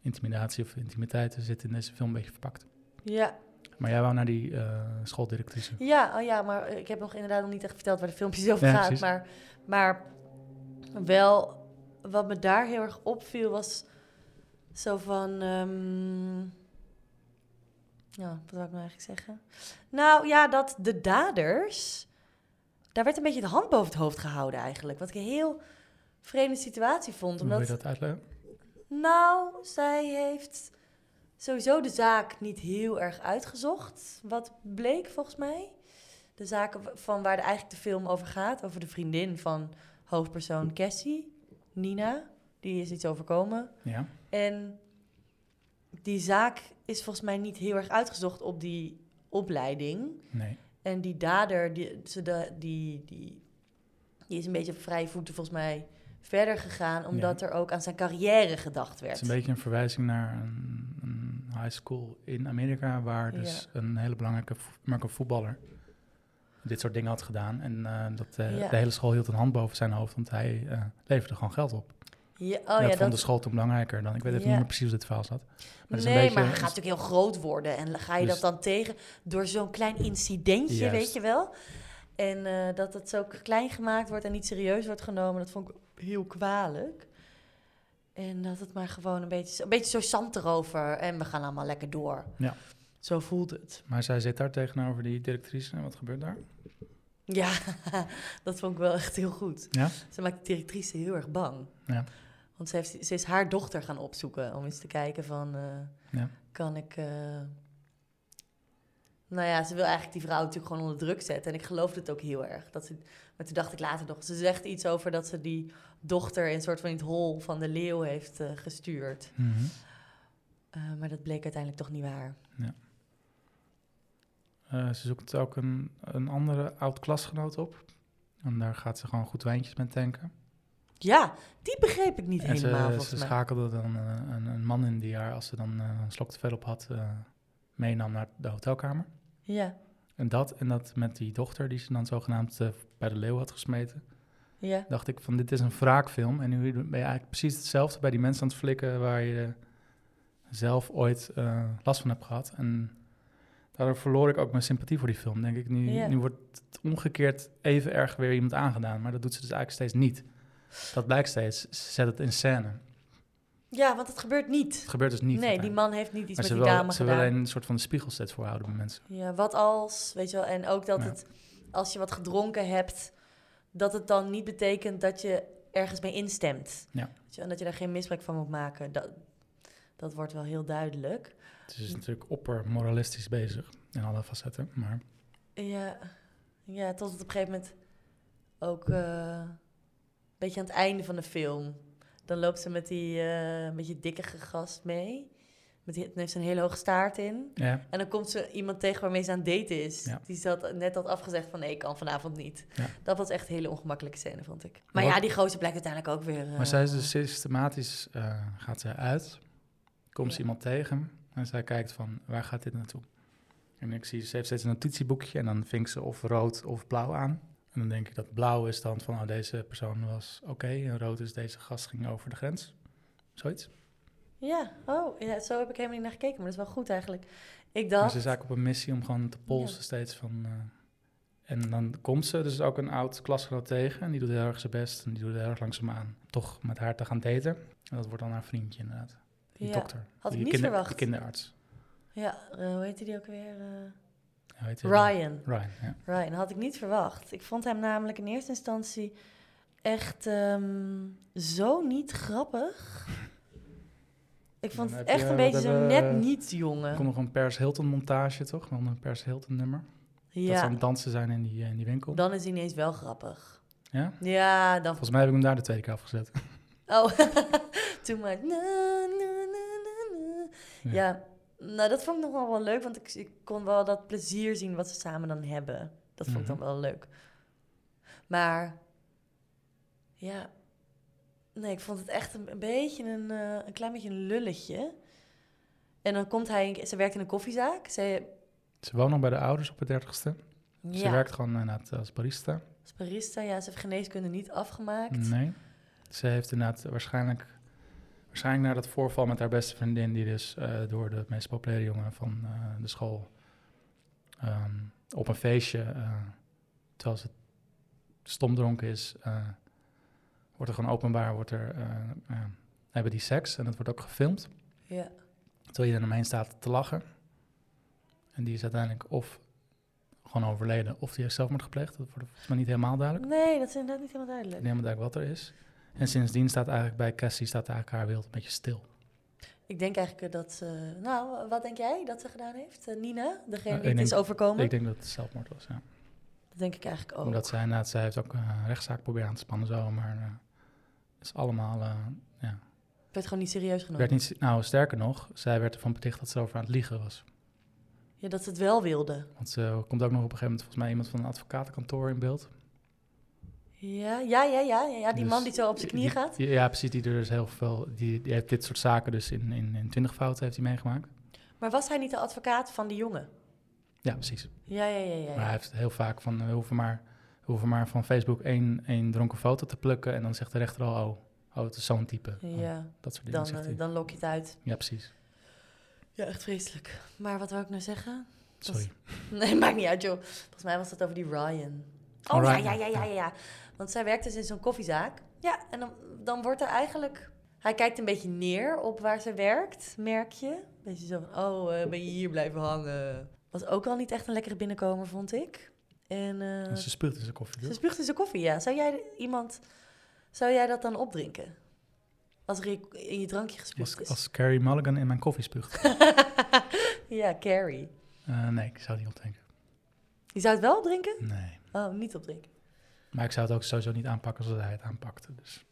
intimidatie of intimiteit zitten in deze film een beetje verpakt. Ja. Maar jij wou naar die eh, schooldirectrice. Ja, oh ja, maar ik heb nog inderdaad nog niet echt verteld waar de filmpjes over Ja, gaat. precies. Maar, maar wel, wat me daar heel erg opviel was zo van... ehm, ja, wat wil ik nou eigenlijk zeggen? Nou ja, dat de daders... Daar werd een beetje de hand boven het hoofd gehouden eigenlijk. Wat ik een heel vreemde situatie vond. Hoe wil je Omdat dat uitleggen? nou, zij heeft sowieso de zaak niet heel erg uitgezocht. Wat bleek volgens mij. De zaak w- van waar de, eigenlijk de film over gaat. Over de vriendin van hoofdpersoon Cassie, Nina. Die is iets overkomen. Ja. En die zaak is volgens mij niet heel erg uitgezocht op die opleiding. Nee. En die dader, die, ze da- die, die, die is een beetje op vrije voeten volgens mij verder gegaan. Omdat er ook aan zijn carrière gedacht werd. Het is een beetje een verwijzing naar een, een high school in Amerika, waar dus een hele belangrijke vo- maar ook een voetballer dit soort dingen had gedaan. En eh, dat eh, Ja. de hele school hield een hand boven zijn hoofd, want hij eh, leverde gewoon geld op. Ja, oh En ja, dat dat, vond de school toen belangrijker dan. Ik weet even Ja. niet meer precies hoe dit verhaal zat. dat is een nee, beetje- maar hij gaat natuurlijk heel groot worden. En ga je Dus- dat dan tegen door zo'n klein incidentje, Juist. weet je wel? En eh, dat het zo klein gemaakt wordt en niet serieus wordt genomen, dat vond ik heel kwalijk. En dat het maar gewoon een beetje, een beetje zo zand erover en we gaan allemaal lekker door. Ja. Zo voelt het. Maar zij zit daar tegenover die directrice. En wat gebeurt daar? Ja, dat vond ik wel echt heel goed. Ja? Ze maakt de directrice heel erg bang. Ja. Want ze, heeft, ze is haar dochter gaan opzoeken om eens te kijken van... eh, Ja. Kan ik... eh, Nou ja, ze wil eigenlijk die vrouw natuurlijk gewoon onder druk zetten. En ik geloofde het ook heel erg. Dat ze... Maar toen dacht ik later nog... Ze zegt iets over dat ze die dochter in een soort van in het hol van de leeuw heeft eh, gestuurd. Mhm. Eh, maar dat bleek uiteindelijk toch niet waar. Eh, ze zoekt ook een, een andere oud-klasgenoot op. En daar gaat ze gewoon goed wijntjes mee tanken. Ja, die begreep ik niet en ze, helemaal volgens ze mij. schakelde dan eh, een, een man in die haar, als ze dan eh, een slok te veel op had, eh, meenam naar de hotelkamer. Ja, En dat, en dat met die dochter die ze dan zogenaamd eh, bij de leeuw had gesmeten. ja, dacht ik van dit is een wraakfilm. En nu ben je eigenlijk precies hetzelfde bij die mensen aan het flikken waar je zelf ooit eh, last van hebt gehad. En daardoor verloor ik ook mijn sympathie voor die film. Denk ik, nu, Ja. nu wordt het omgekeerd even erg weer iemand aangedaan. Maar dat doet ze dus eigenlijk steeds niet. Dat blijkt steeds. Ze zet het in scène. ja, want het gebeurt niet. Het gebeurt dus niet. nee, die uiteindelijk. man heeft niet iets Maar met ze die wil, dame ze gedaan. wil alleen een soort van de spiegel steeds voorhouden bij mensen. Ja, wat als, weet je wel. En ook dat Ja. het, als je wat gedronken hebt, dat het dan niet betekent dat je ergens mee instemt. Ja. Weet je, wel, en dat je daar geen misbruik van moet maken. Dat, dat wordt wel heel duidelijk. Het Hm. is natuurlijk oppermoralistisch bezig in alle facetten. Maar Ja, ja tot het op een gegeven moment ook eh, beetje aan het einde van de film. Dan loopt ze met die, eh, met die dikke gast mee. Met die, dan heeft ze een hele hoge staart in. Ja, En dan komt ze iemand tegen waarmee ze aan het daten is. Ja. Die zat, net had afgezegd van nee, ik kan vanavond niet. Ja. Dat was echt een hele ongemakkelijke scène, vond ik. Maar Wat- ja, die gozer blijkt uiteindelijk ook weer... eh, maar zij is dus systematisch, eh, gaat zij uit, komt ze Ja. iemand tegen en zij kijkt van, waar gaat dit naartoe? En ik zie, ze heeft steeds een notitieboekje en dan vinkt ze of rood of blauw aan. En dan denk ik dat blauw is dan van, oh, deze persoon was oké, en rood is deze gast ging over de grens. Zoiets. Ja, oh, ja, zo heb ik helemaal niet naar gekeken, maar dat is wel goed eigenlijk. Ik Maar dacht... ze is eigenlijk op een missie om gewoon te polsen steeds van... eh, en dan komt ze dus ook een oud klasgenoot tegen. En die doet heel erg zijn best en die doet heel erg langzaam aan. Toch met haar te gaan daten. En dat wordt dan haar vriendje inderdaad. Die Ja. dokter. Had ik die niet kinder- verwacht. Die kinderarts. Ja, eh, hoe heette die ook weer? eh? Hoe heet hij? Ryan. Ryan, ja. Ryan, had ik niet verwacht. Ik vond hem namelijk in eerste instantie echt ehm, zo niet grappig. Ik Dan vond het heb echt je- een wat beetje zo hebben we- net niet Er jongen. komt nog een Pers Hilton montage, toch? Wel een Pers Hilton nummer. Dat ze aan ja, het dansen zijn in die, eh, in die winkel. dan is hij ineens wel grappig. Ja? Ja, dan... Volgens mij heb ik hem daar de tweede keer afgezet. Oh, toen maar... na, na, na, na, na. Ja. Ja, nou dat vond ik nog wel wel leuk, want ik, ik kon wel dat plezier zien wat ze samen dan hebben. Dat vond ik dan Mhm. wel leuk. Maar ja, nee, ik vond het echt een, een beetje een, eh, een klein beetje een lulletje. En dan komt hij, ze werkt in een koffiezaak. Ze, Ze woont nog bij de ouders op het dertigste. Ze ja, werkt gewoon eh, inderdaad als barista. als barista, ja, ze heeft geneeskunde niet afgemaakt. Nee. Ze heeft inderdaad waarschijnlijk, waarschijnlijk na dat voorval met haar beste vriendin, die dus eh, door de meest populaire jongen van eh, de school ehm, op een feestje, eh, terwijl ze stomdronken is, eh, wordt er gewoon openbaar, wordt er, eh, eh, hebben die seks en dat wordt ook gefilmd. Ja, Terwijl iedereen omheen staat te lachen. En die is uiteindelijk of gewoon overleden, of die heeft zelfmoord gepleegd. Dat wordt volgens mij niet helemaal duidelijk. nee, dat is inderdaad niet helemaal duidelijk. Ik neem eigenlijk wat er is. En sindsdien staat eigenlijk bij Cassie staat eigenlijk haar wereld een beetje stil. Ik denk eigenlijk dat ze, nou, wat denk jij dat ze gedaan heeft? Eh, Nina, degene Eh, die ik het is denk- overkomen? Ik denk dat het zelfmoord was, ja. dat denk ik eigenlijk ook. Omdat zij inderdaad, zij heeft ook eh, een rechtszaak proberen aan te spannen zo, maar eh, het is allemaal... eh, Ik werd gewoon niet serieus genomen. werd niet, nou, sterker nog, zij werd ervan beticht dat ze over aan het liegen was. Ja, dat ze het wel wilden. Want ze komt ook nog op een gegeven moment volgens mij iemand van een advocatenkantoor in beeld. Ja, ja, ja, ja. ja, ja die Dus man die zo op zijn knieën die- gaat. die- ja, precies, die er dus heel veel... Die, die heeft dit soort zaken dus in, in, in twintig fouten heeft hij meegemaakt. Maar was hij niet de advocaat van die jongen? Ja, precies. Ja, ja, ja, ja. Maar hij ja. heeft heel vaak van, eh, we hoeven maar, we hoeven maar van Facebook één, één dronken foto te plukken. En dan zegt de rechter al, oh, oh het is zo'n type. Oh, Ja, dat soort dingen dan, zegt eh, hij. dan lok je het uit. Ja, precies. Ja, echt vreselijk. Maar wat wou ik nou zeggen? Dat- Sorry. Nee, maakt niet uit, joh. Volgens mij was dat over die Ryan. Oh, Oh, ja, Ryan, ja, ja, ja, ja. ja, ja. Want zij werkt dus in zo'n koffiezaak. Ja, en dan, dan wordt er eigenlijk... Hij kijkt een beetje neer op waar ze werkt, merk je. Beetje zo van, oh, eh, ben je hier blijven hangen? Was ook al niet echt een lekkere binnenkomer, vond ik. En, eh, En ze spuugt in zijn koffie. Ze spuugt in zijn koffie, ja. Zou jij iemand... Zou jij dat dan opdrinken? Als er in- in je drankje gespuugd Als, is. als Carrie Mulligan in mijn koffie spuugt. ja, Carrie. Eh, nee, ik zou het niet opdenken. Je zou het wel opdrinken? Nee. Oh, niet opdrinken. Maar ik zou het ook sowieso niet aanpakken zoals hij het aanpakte. Dus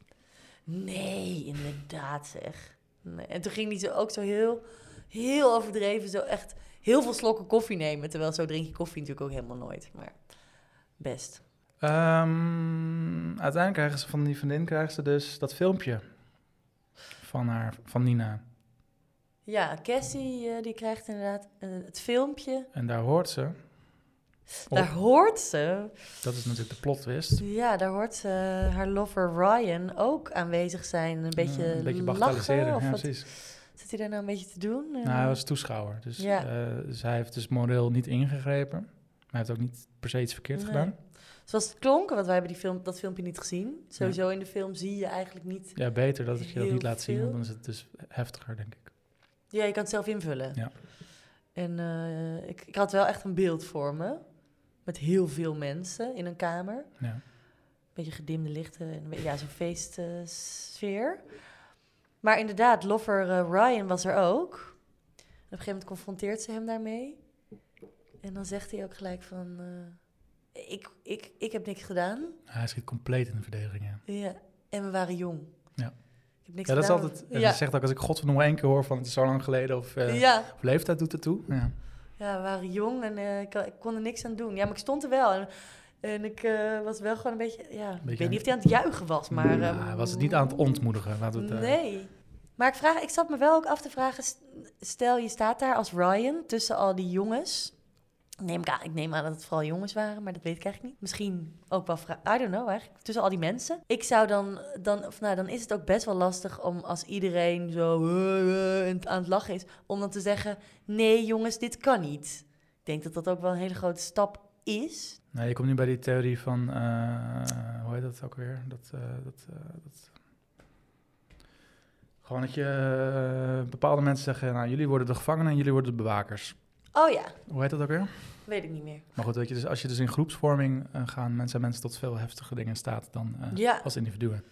Nee, inderdaad zeg. Nee. En toen ging hij zo ook zo heel, heel overdreven. Zo echt heel veel slokken koffie nemen. Terwijl zo drink je koffie natuurlijk ook helemaal nooit. Maar best. Ehm, uiteindelijk krijgen ze van die vriendin krijgen ze dus dat filmpje van, haar, van Nina. Ja, Cassie eh, die krijgt inderdaad eh, het filmpje. En daar hoort ze, Oh. Daar hoort ze dat is natuurlijk de plot twist, Ja, daar hoort eh, haar lover Ryan ook aanwezig zijn. Een beetje, Eh, een beetje lachen. bagatelliseren. Of ja, wat precies. zit hij daar nou een beetje te doen? Eh, Nou, hij was toeschouwer. Dus Ja. eh, zij heeft dus moreel niet ingegrepen. Maar hij heeft ook niet per se iets verkeerd Nee. gedaan. Zoals het klonk, want wij hebben die film, dat filmpje niet gezien. Sowieso in de film zie je eigenlijk niet... Ja, beter dat je dat Heel niet laat zien, want veel. dan is het dus heftiger, denk ik. Ja, je kan het zelf invullen. Ja. En eh, ik, ik had wel echt een beeld voor me. Met heel veel mensen in een kamer. Ja. beetje gedimde lichten en een beetje- ja, zo'n feestsfeer. maar inderdaad, Loffer eh, Ryan was er ook. En op een gegeven moment confronteert ze hem daarmee. En dan zegt hij ook gelijk van... eh, ik, ik, ik heb niks gedaan. Hij schiet compleet in de verdediging, ja. Ja. en we waren jong. Ja. Ik heb niks Ja, dat is gedaan. altijd... Ja. Ja. Ze zegt ook als ik godverdomme één keer hoor van het is zo lang geleden of, eh, ja. of leeftijd doet het toe. Ja. Ja, we waren jong en eh, ik, ik kon er niks aan doen. Ja, maar ik stond er wel. En, en ik eh, was wel gewoon een beetje... Ja, ik weet aan- niet of hij aan het juichen was, maar... Ja, eh, hij was het niet aan het ontmoedigen, laten we het... eh, Nee. Maar ik, vraag, ik zat me wel ook af te vragen... s- Stel, je staat daar als Ryan tussen al die jongens. Neem ik, aan, ik neem aan dat het vooral jongens waren, maar dat weet ik eigenlijk niet. Misschien ook wel vrouwen. I don't know eigenlijk. Tussen al die mensen. Ik zou dan... dan of nou, dan is het ook best wel lastig om als iedereen zo... eh, eh, en aan het lachen is, om dan te zeggen... Nee, jongens, dit kan niet. Ik denk dat dat ook wel een hele grote stap is. Nee, Nou, je komt nu bij die theorie van, eh, hoe heet dat ook weer? Dat, eh, dat, eh, dat... Gewoon dat je eh, bepaalde mensen zeggen, nou jullie worden de gevangenen en jullie worden de bewakers. Oh ja, Hoe heet dat ook weer? weet ik niet meer. Maar goed, weet je, dus als je dus in groepsvorming eh, gaan, mensen zijn mensen tot veel heftige dingen in staat dan eh, Ja. als individuen.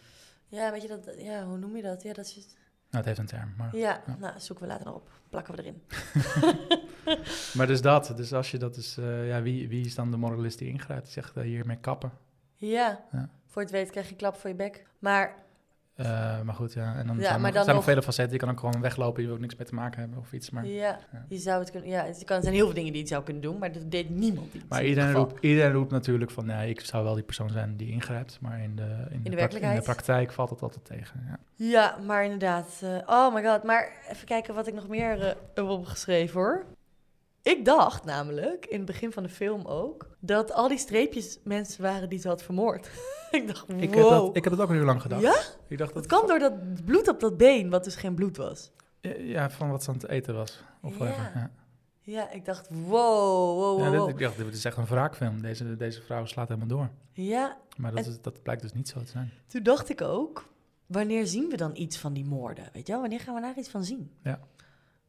Ja, weet je dat... Ja, hoe noem je dat? Ja, dat is... Nou, het heeft een term. Maar, Ja, Ja. nou, zoeken we later nog op. Plakken we erin. maar dus dat, dus als je dat is, eh, ja, wie, wie is dan de moralist die ingrijpt? Die zegt eh, hiermee kappen. Ja. Ja. Voor het weet krijg je klap voor je bek. Maar Eh, maar goed, ja. En dan Ja, zijn, maar er nog- dan zijn er nog nog- vele facetten. Je kan ook gewoon weglopen, je wil ook niks mee te maken hebben of iets. Maar, ja, ja. je zou het kunnen... Ja, het kan, er zijn heel veel dingen die je zou kunnen doen, maar dat deed niemand iets. maar in iedereen, ieder geval. roept, iedereen roept natuurlijk van, nee, ik zou wel die persoon zijn die ingrijpt. Maar in de, in de, prak- in de werkelijkheid? praktijk valt het altijd tegen. Ja. Ja, maar inderdaad. eh, oh my god. Maar even kijken wat ik nog meer eh, heb opgeschreven hoor. Ik dacht namelijk, in het begin van de film ook, dat al die streepjes mensen waren die ze had vermoord. ik dacht, wow. Ik, heb dat, ik heb dat ook heel lang gedacht. Ja? Ik dacht dat, Dat kwam door dat bloed op dat been, wat dus geen bloed was. Ja, van wat ze aan het eten was. Of Ja. whatever, ja. Ja, ik dacht, wow, wow, Ja, wow. dit- wow. ik dacht, dit is echt een wraakfilm. Deze, deze vrouw slaat helemaal door. ja Maar dat, En- is, dat blijkt dus niet zo te zijn. Toen dacht ik ook, wanneer zien we dan iets van die moorden? Weet je wel, wanneer gaan we daar iets van zien? Ja.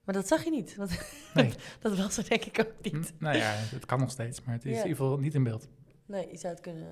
Maar dat zag je niet. Want Nee. dat was er denk ik ook Hm, niet. nou ja, het kan nog steeds, maar het is Ja. in ieder geval niet in beeld. Nee, je zou het kunnen...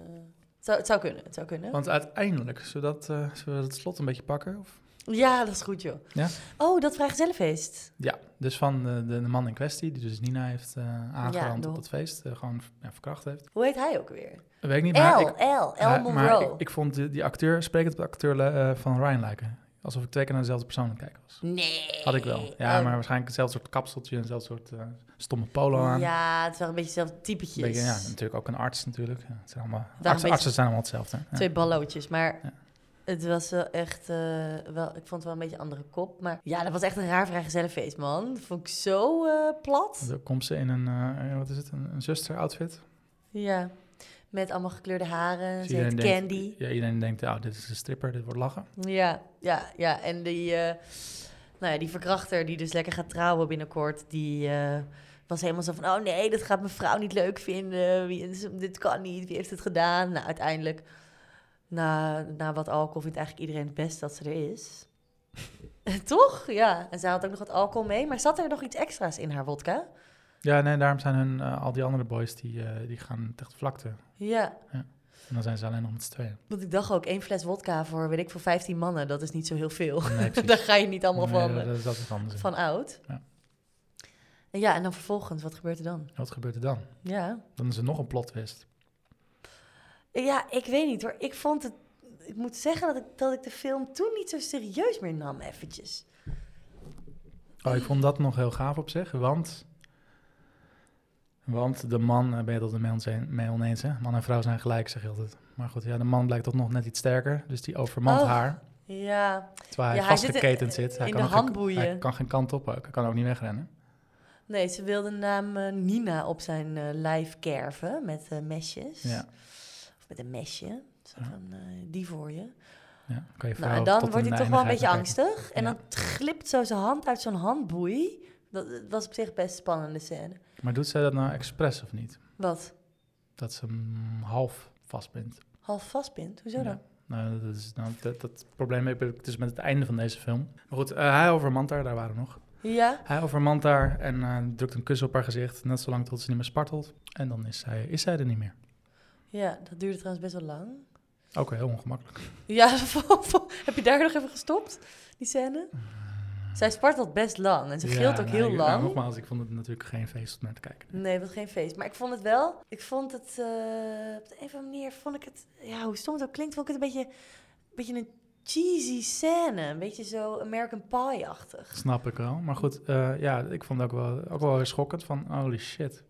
Het zou, het zou kunnen, het zou kunnen. Want uiteindelijk, zodat, eh zullen we het slot een beetje pakken? Of? Ja, dat is goed joh. Ja? Oh, dat vrijgezellenfeest. Ja, dus van de, de, de man in kwestie, die dus Nina heeft eh aangerand de- op dat feest, eh, gewoon ja, verkracht heeft. Hoe heet hij ook weer? Dat weet ik niet, maar, L, ik, L, ja, L maar Monroe. ik, ik vond die, die acteur, sprekend op de acteur eh, van Ryan lijken. Alsof ik twee keer naar dezelfde persoon aan het kijken was. Nee. Had ik wel. Ja, Oh, maar waarschijnlijk hetzelfde soort kapseltje en hetzelfde soort eh, stomme polo aan. Ja, het is wel een beetje hetzelfde typetjes. Beetje, ja, natuurlijk ook een arts natuurlijk. Ja, het zijn allemaal, artsen, beetje- artsen zijn allemaal hetzelfde. Ja. Twee ballootjes, maar Ja. het was wel echt, eh, wel, ik vond het wel een beetje een andere kop. Maar ja, dat was echt een raar vrijgezellenfeest, man. Dat vond ik zo eh, plat. Dan komt ze in een, eh, wat is het, een, een zuster-outfit. Ja, met allemaal gekleurde haren, Dus ze heet denkt- Candy. ja, iedereen denkt, oh, dit is een stripper, dit wordt lachen. Ja, ja, ja. En die, eh, nou ja, die verkrachter die dus lekker gaat trouwen binnenkort, die eh, was helemaal zo van, oh nee, dat gaat mijn vrouw niet leuk vinden. Wie, dit kan niet, wie heeft het gedaan? Nou, uiteindelijk, na, na wat alcohol vindt eigenlijk iedereen het best dat ze er is. Toch? Ja. En zij had ook nog wat alcohol mee, maar zat er nog iets extra's in haar wodka? Ja, nee, daarom zijn hun, eh, al die andere boys, die, eh, die gaan tegen de vlakte. Ja. En dan zijn ze alleen nog met z'n tweeën. Want ik dacht ook, één fles wodka voor, weet ik, voor 15 mannen, dat is niet zo heel veel. Nee, precies. Daar ga je niet allemaal Nee, van. dat, dat is altijd anders. Van oud. Ja. En ja, en dan vervolgens, wat gebeurt er dan? Wat gebeurt er dan? Ja. Dan is er nog een plot twist. Ja, ik weet niet hoor. Ik vond het. Ik moet zeggen dat ik, dat ik de film toen niet zo serieus meer nam, eventjes. Oh, ik vond dat nog heel gaaf op zich, want... Want de man, eh, ben je dat er mee onzeen- mee oneens, hè? Man en vrouw zijn gelijk, zeg je altijd. Maar goed, ja, de man blijkt toch nog net iets sterker. Dus die overmant Oh. haar, Ja. terwijl hij Ja, hij zit in- vastgeketend zit. Hij in kan de ook geen- handboeien. Hij kan geen kant op ook. Hij kan ook niet wegrennen. Nee, ze wilde de naam eh, Nina op zijn eh, lijf kerven met eh, mesjes. Ja, Of met een mesje. Zo Ja. van, eh, die voor je. ja. Kan Nou, je vrouw en dan tot wordt in hij de toch wel een beetje eindigheid bekijken. angstig. En Ja. dan glipt zo zijn hand uit zo'n handboei. Dat, dat was op zich best een spannende scène. Maar doet zij dat nou expres of niet? Wat? Dat ze hem half vastbindt. Half vastbindt? Hoezo dan? Ja. Nou, dat, is, nou, dat, dat probleem heb ik dus met het einde van deze film. Maar goed, eh, hij overmant haar, daar waren we nog. Ja? Hij overmant haar en eh, drukt een kus op haar gezicht, net zolang tot ze niet meer spartelt. En dan is zij, is zij er niet meer. Ja, dat duurde trouwens best wel lang. Ook heel ongemakkelijk. Ja, vo- vo- heb je daar nog even gestopt, die scène? Zij spartelt best lang en ze gilt Ja, ook nou, heel ik- nou, lang. nogmaals, ik vond het natuurlijk geen feest om naar te kijken. Nee, het was geen feest. Maar ik vond het wel, ik vond het eh, op de een of andere manier, vond ik het, ja, hoe stom het ook klinkt, vond ik het een beetje beetje een cheesy scène. Een beetje zo American Pie-achtig. Snap ik wel. Maar goed, eh, ja, ik vond het ook wel, ook wel weer schokkend van holy shit.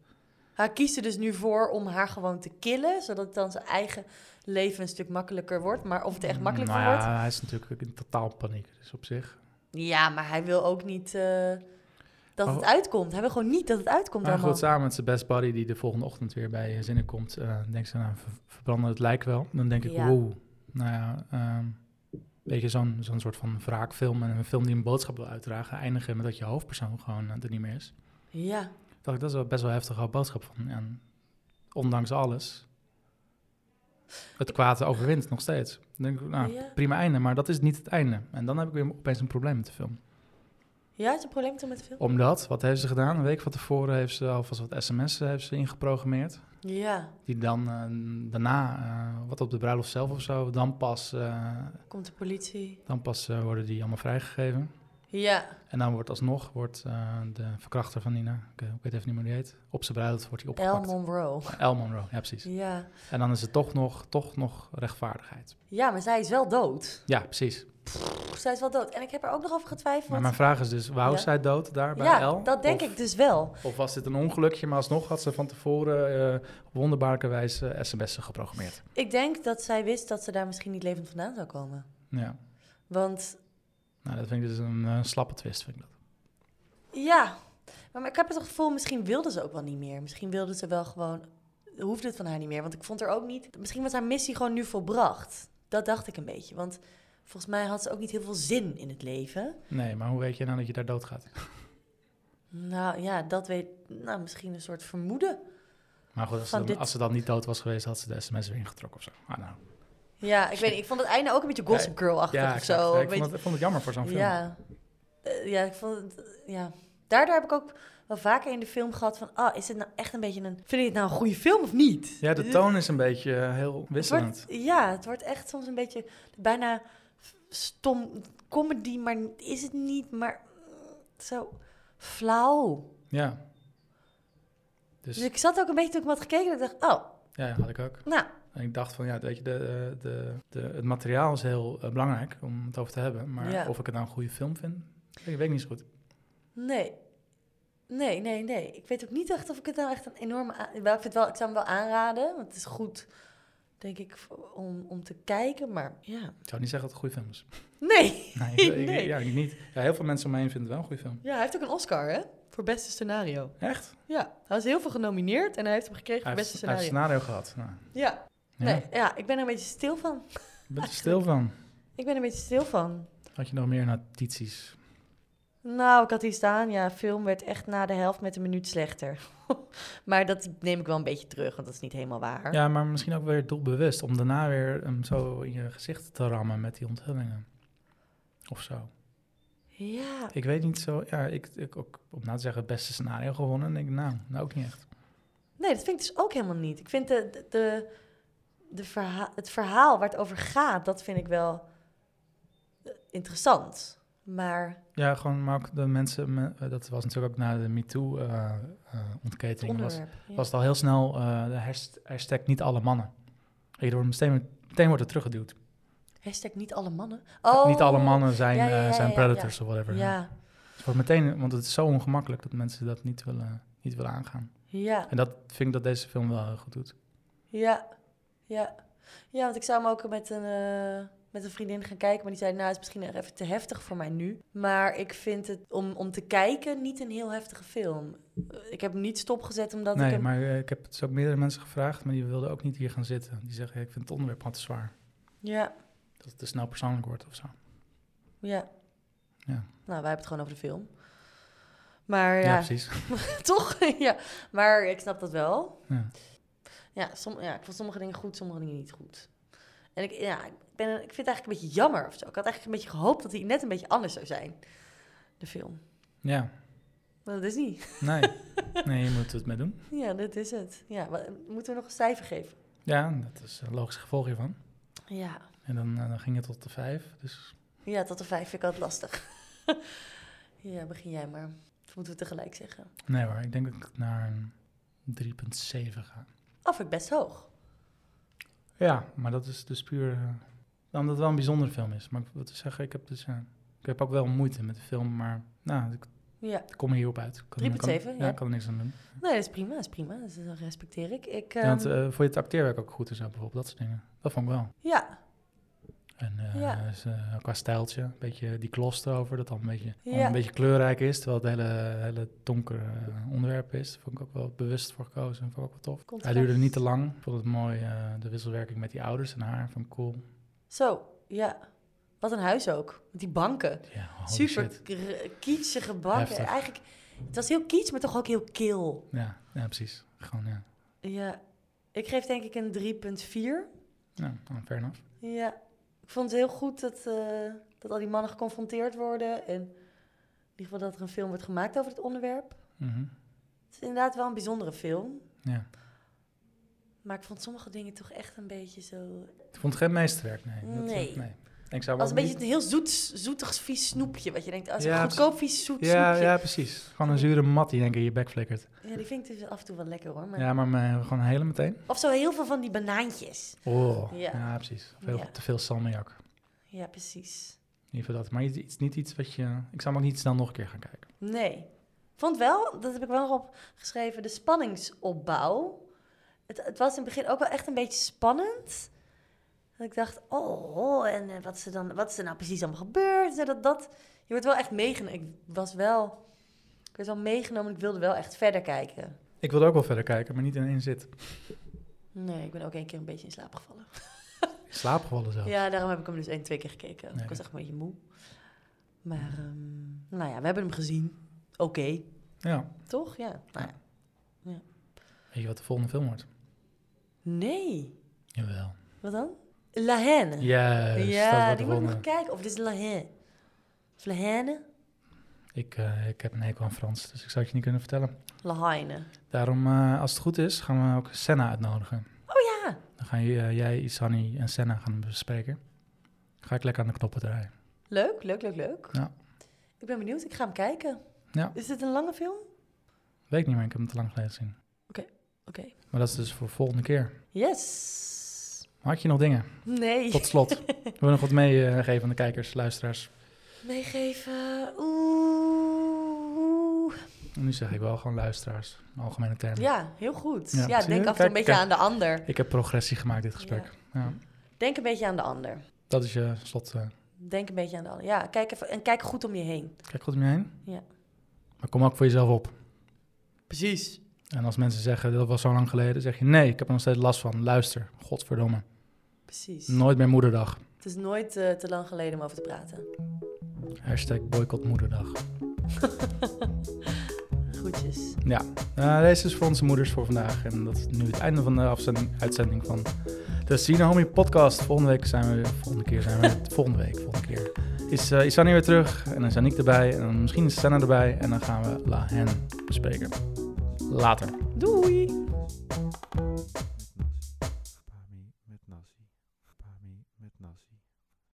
Hij kiest er dus nu voor om haar gewoon te killen, zodat het dan zijn eigen leven een stuk makkelijker wordt. Maar of het echt makkelijker nou, wordt. ja, hij is natuurlijk ook in totaal paniek, dus op zich. Ja, maar hij wil ook niet eh, dat Maar- het uitkomt. Hij wil gewoon niet dat het uitkomt Maar allemaal. goed, samen met zijn best buddy die de volgende ochtend weer bij eh, zinnen komt, eh, denkt ze, nou, ver- verbranden het lijk wel. Dan denk ik, Ja. wow, nou ja, ehm, weet je, zo'n zo'n soort van wraakfilm en een film die een boodschap wil uitdragen, eindigen met dat je hoofdpersoon gewoon eh, er niet meer is. Ja, dacht ik, dat is wel best wel een heftige boodschap van. En ondanks alles, het kwaad overwint nog steeds. Dan denk ik, nou, Ja. prima einde, maar dat is niet het einde. En dan heb ik weer opeens een probleem met de film. ja, het is een probleem toen met de Oh. film. Omdat, wat heeft ze gedaan? Een week van tevoren heeft ze alvast wat sms'en heeft ze ingeprogrammeerd. Ja, Die dan eh, daarna, eh, wat op de bruiloft zelf of zo, dan pas, eh, komt de politie. dan pas eh, worden die allemaal vrijgegeven. Ja, En dan wordt alsnog wordt, eh, de verkrachter van Nina, ik, eh, ik weet even niet meer hoe die heet, op zijn bruiloft wordt hij El opgepakt. Monroe. El Monroe, ja precies. Ja. En dan is het toch nog, toch nog rechtvaardigheid. ja, maar zij is wel dood. Ja, precies. Pff, zij is wel dood. En ik heb er ook nog over getwijfeld. Maar mijn vraag is dus, wou Ja. zij dood daar bij ja, El? dat denk Of- ik dus wel. Of was dit een ongelukje, maar alsnog had ze van tevoren eh, op wonderbaarlijke wijze sms'en geprogrammeerd. Ik denk dat zij wist dat ze daar misschien niet levend vandaan zou komen. Ja, Want nou dat vind ik dus een eh, slappe twist, vind ik dat. Ja, maar ik heb het gevoel, misschien wilde ze ook wel niet meer. Misschien wilde ze wel gewoon, hoefde het van haar niet meer. Want ik vond er ook niet, misschien was haar missie gewoon nu volbracht. Dat dacht ik een beetje, want volgens mij had ze ook niet heel veel zin in het leven. Nee, maar hoe weet je nou dat je daar dood gaat? Nou ja, dat weet, nou misschien een soort vermoeden. Maar goed, als ze, Van dan, dit- als ze dan niet dood was geweest, had ze de sms weer ingetrokken of zo. Ah, nou. Ja, ik weet niet, ik vond het einde ook een beetje Gossip Girl-achtig Ja, of exact. zo. Ja, een ik, vond beetje- het, ik vond het jammer voor zo'n film. Ja. Eh, ja, ik vond het, ja. Daardoor heb ik ook wel vaker in de film gehad van, ah, is het nou echt een beetje een, vind je het nou een goede film of niet? Ja, de Eh, toon is een beetje eh, heel Het wordt- wisselend. ja, het wordt echt soms een beetje bijna stom comedy, maar is het niet, maar eh, zo flauw. Ja. Dus Dus ik zat ook een beetje toen ik hem had gekeken en ik dacht, oh, ja, had ik ook. nou, En ik dacht van, ja, weet je, de, eh, de, de, het materiaal is heel eh, belangrijk om het over te hebben. Maar Ja. of ik het nou een goede film vind, ik weet ik niet zo goed. nee. Nee, nee, nee. Ik weet ook niet echt of ik het nou echt een enorme... aan- Wel, ik, vind wel, ik zou hem wel aanraden, want het is goed, denk ik, voor- om, om te kijken. Maar ja, Ik zou niet zeggen dat het een goede film is. nee. Nee, ik, ik- Nee. ja, ik niet. Ja, heel veel mensen om me heen vinden het wel een goede film. Ja, hij heeft ook een Oscar, hè? Voor beste scenario. Echt? Ja, hij is heel veel genomineerd en hij heeft hem gekregen Hij voor heeft, beste hij heeft scenario. scenario gehad. Nou, Ja, ja, Nee, ja, ik ben er een beetje stil van. ik ben er stil van. Ik ben er een beetje stil van. Had je nog meer notities? Nou, ik had hier staan, ja, film werd echt na de helft met een minuut slechter. maar dat neem ik wel een beetje terug, want dat is niet helemaal waar. Ja, maar misschien ook weer doelbewust om daarna weer hem zo in je gezicht te rammen met die onthullingen. Of zo. Ja, Ik weet niet zo. Ja, ik, ik ook om nou te zeggen, het beste scenario gewonnen. denk ik, nou, nou ook niet echt. nee, dat vind ik dus ook helemaal niet. Ik vind de, de, de, de verha- het verhaal waar het over gaat, dat vind ik wel eh, interessant. Maar Ja, gewoon, maar ook de mensen, me- eh, dat was natuurlijk ook na de het MeToo-ontketening, was, onderwerp... ja. was het al heel snel eh, de hasht- hashtag niet alle mannen. Ik word meteen, meteen wordt het teruggeduwd. Hashtag niet alle mannen. Oh, Niet alle mannen zijn, Ja, ja, eh, ja, zijn ja, predators of whatever. Ja, Het wordt meteen, want het is zo ongemakkelijk dat mensen dat niet willen, niet willen aangaan. ja. En dat vind ik dat deze film wel heel goed doet. Ja, ja. Ja, want ik zou hem ook met een, eh, met een vriendin gaan kijken. Maar die zei, nou, het is misschien nog even te heftig voor mij nu. Maar ik vind het, om, om te kijken, niet een heel heftige film. Eh, Ik heb hem niet stopgezet omdat ik nee, hem... maar eh, ik heb het dus ook meerdere mensen gevraagd, maar die wilden ook niet hier gaan zitten. Die zeggen, ik vind het onderwerp gewoon te zwaar. Ja, Dat het te snel persoonlijk wordt of zo. ja. Ja. Nou, wij hebben het gewoon over de film. Maar ja ja, precies. toch? ja. Maar ik snap dat wel. Ja. Ja, som, ja, ik vond sommige dingen goed, sommige dingen niet goed. En ik, ja, ik, ben, ik vind het eigenlijk een beetje jammer of zo. Ik had eigenlijk een beetje gehoopt dat hij net een beetje anders zou zijn, de film. Ja, Maar dat is niet. nee. Nee, je moet het mee doen. Ja, dat is het. Ja, wa- moeten we nog een cijfer geven? Ja, dat is een logisch gevolg hiervan. Ja. En dan, eh, dan ging het tot de vijf. Dus Ja, tot de vijf vind ik altijd lastig. ja, begin jij maar. Of moeten we tegelijk zeggen? nee hoor, ik denk dat ik naar een 3,7 ga. Af Oh, ik best hoog. Ja, maar dat is dus puur eh, Omdat het wel een bijzondere film is. Maar ik wil te zeggen, ik heb, dus, eh, ik heb ook wel moeite met de film, maar nou, ik Ja. kom hierop uit. Ik Kan, 3,7, kan- ja. Ja, ik kan er niks aan doen. Nee, dat is prima, dat is prima. Dat is- dat respecteer ik. ik Ja, want, ehm, eh, vond je het acteerwerk ook goed en zo, bijvoorbeeld, dat soort dingen. Dat vond ik wel. ja, En eh, Ja. is, eh, qua stijltje, een beetje die klos erover, dat dan een beetje, Ja. gewoon een beetje kleurrijk is, terwijl het hele, hele donker eh, onderwerp is. Vond ik ook wel bewust voor gekozen, vond ik ook wel tof. Contrast. Hij duurde niet te lang, Ik vond het mooi, eh, de wisselwerking met die ouders en haar, vond ik cool. zo, ja. Wat een huis ook. Met die banken. Ja, holy Super shit. r- kitschige banken. Heftig. Eigenlijk, het was heel kitsch, maar toch ook heel kil. Ja, ja, precies. Gewoon, ja. Ja, ik geef denk ik een 3,4. Nou, nou, fair enough. Ja, ik vond het heel goed dat, eh, dat al die mannen geconfronteerd worden. En in ieder geval dat er een film wordt gemaakt over dit onderwerp. Mhm. Het is inderdaad wel een bijzondere film. Ja. Maar ik vond sommige dingen toch echt een beetje zo... Ik vond het geen meesterwerk, nee. Dat, Nee. nee. En Ik zou Als wel een beetje een heel zoet, zoetig, vies snoepje. Wat je denkt, als Ja, een goedkoop, vies, zoet niet- Ja, snoepje. ja, precies. Gewoon een zure mat die denk ik in je bek flikkert. Ja, die vind ik dus af en toe wel lekker hoor. Maar... Ja, maar me- gewoon hele meteen. Of zo heel veel van die banaantjes. Oh, Ja. ja, precies. Veel, Ja. Te veel salmiak. Ja, precies. In ieder geval dat. Maar het is niet iets wat je... Ik zou hem ook niet snel nog een keer gaan kijken. Nee. Ik vond wel, dat heb ik wel nog opgeschreven, de spanningsopbouw. Het, het was in het begin ook wel echt een beetje spannend. Dat ik dacht, oh, en eh, wat is er, dan, wat is er nou precies allemaal gebeurd? Zo Dat, dat, je wordt wel echt meegenomen. Ik was wel... Ik werd wel meegenomen, ik wilde wel echt verder kijken. Ik wilde ook wel verder kijken, maar niet in één zit. Nee, ik ben ook één keer een beetje in slaap gevallen. In slaap gevallen zelf. Ja, daarom heb ik hem dus één, twee keer gekeken. Nee. Ik was echt een beetje moe. Maar, ehm, nou ja, we hebben hem gezien. Oké, Ja. toch? Ja. Nou ja. Weet je wat de volgende film wordt? Nee. Jawel. Wat dan? La Haine. Juist, dus dat ja, wordt eh, de die moet ik nog volgende. kijken. Of dit is La Haine. Of La Haine? Ik, eh, ik heb een hekel aan Frans, dus ik zou het je niet kunnen vertellen. La Haine. Daarom, eh, als het goed is, gaan we ook Senna uitnodigen. Oh ja. Dan gaan j- eh, jij, Isani en Senna gaan bespreken. Ga ik lekker aan de knoppen draaien. Leuk, leuk, leuk, leuk. Ja. Ik ben benieuwd. Ik ga hem kijken. Ja. Is dit een lange film? Weet niet meer, ik heb hem te lang geleden gezien. Oké. Maar dat is dus voor volgende keer. Yes. Maar Had je nog dingen? Nee. Tot slot. Wil je nog wat meegeven aan de kijkers, luisteraars? Meegeven. Oeh. En Nu zeg ik wel gewoon luisteraars, een algemene term. Ja, heel goed. Ja, Ja, zie denk je? af en toe een Kijk, beetje kijk. aan de ander. Ik heb progressie gemaakt dit gesprek. Ja. Denk een beetje aan de ander. Dat is je slot. eh, Denk een beetje aan de ander. Ja, kijk even, en kijk goed om je heen. kijk goed om je heen. Ja. Maar kom ook voor jezelf op. Precies. En als mensen zeggen, dat was zo lang geleden, zeg je nee, ik heb er nog steeds last van. Luister, godverdomme. Precies. Nooit meer moederdag. Het is nooit eh, te lang geleden om over te praten. Hashtag boycott moederdag. Groetjes. Ja, eh, deze is voor onze moeders voor vandaag. En dat is nu het einde van de afzending, uitzending van de Sina Homie podcast. Volgende week zijn we weer. Volgende keer zijn we weer. volgende week, volgende keer. Is eh Isani weer terug en dan zijn ik erbij. En dan misschien is Senna erbij. En dan gaan we La Hen bespreken. Later. Doei!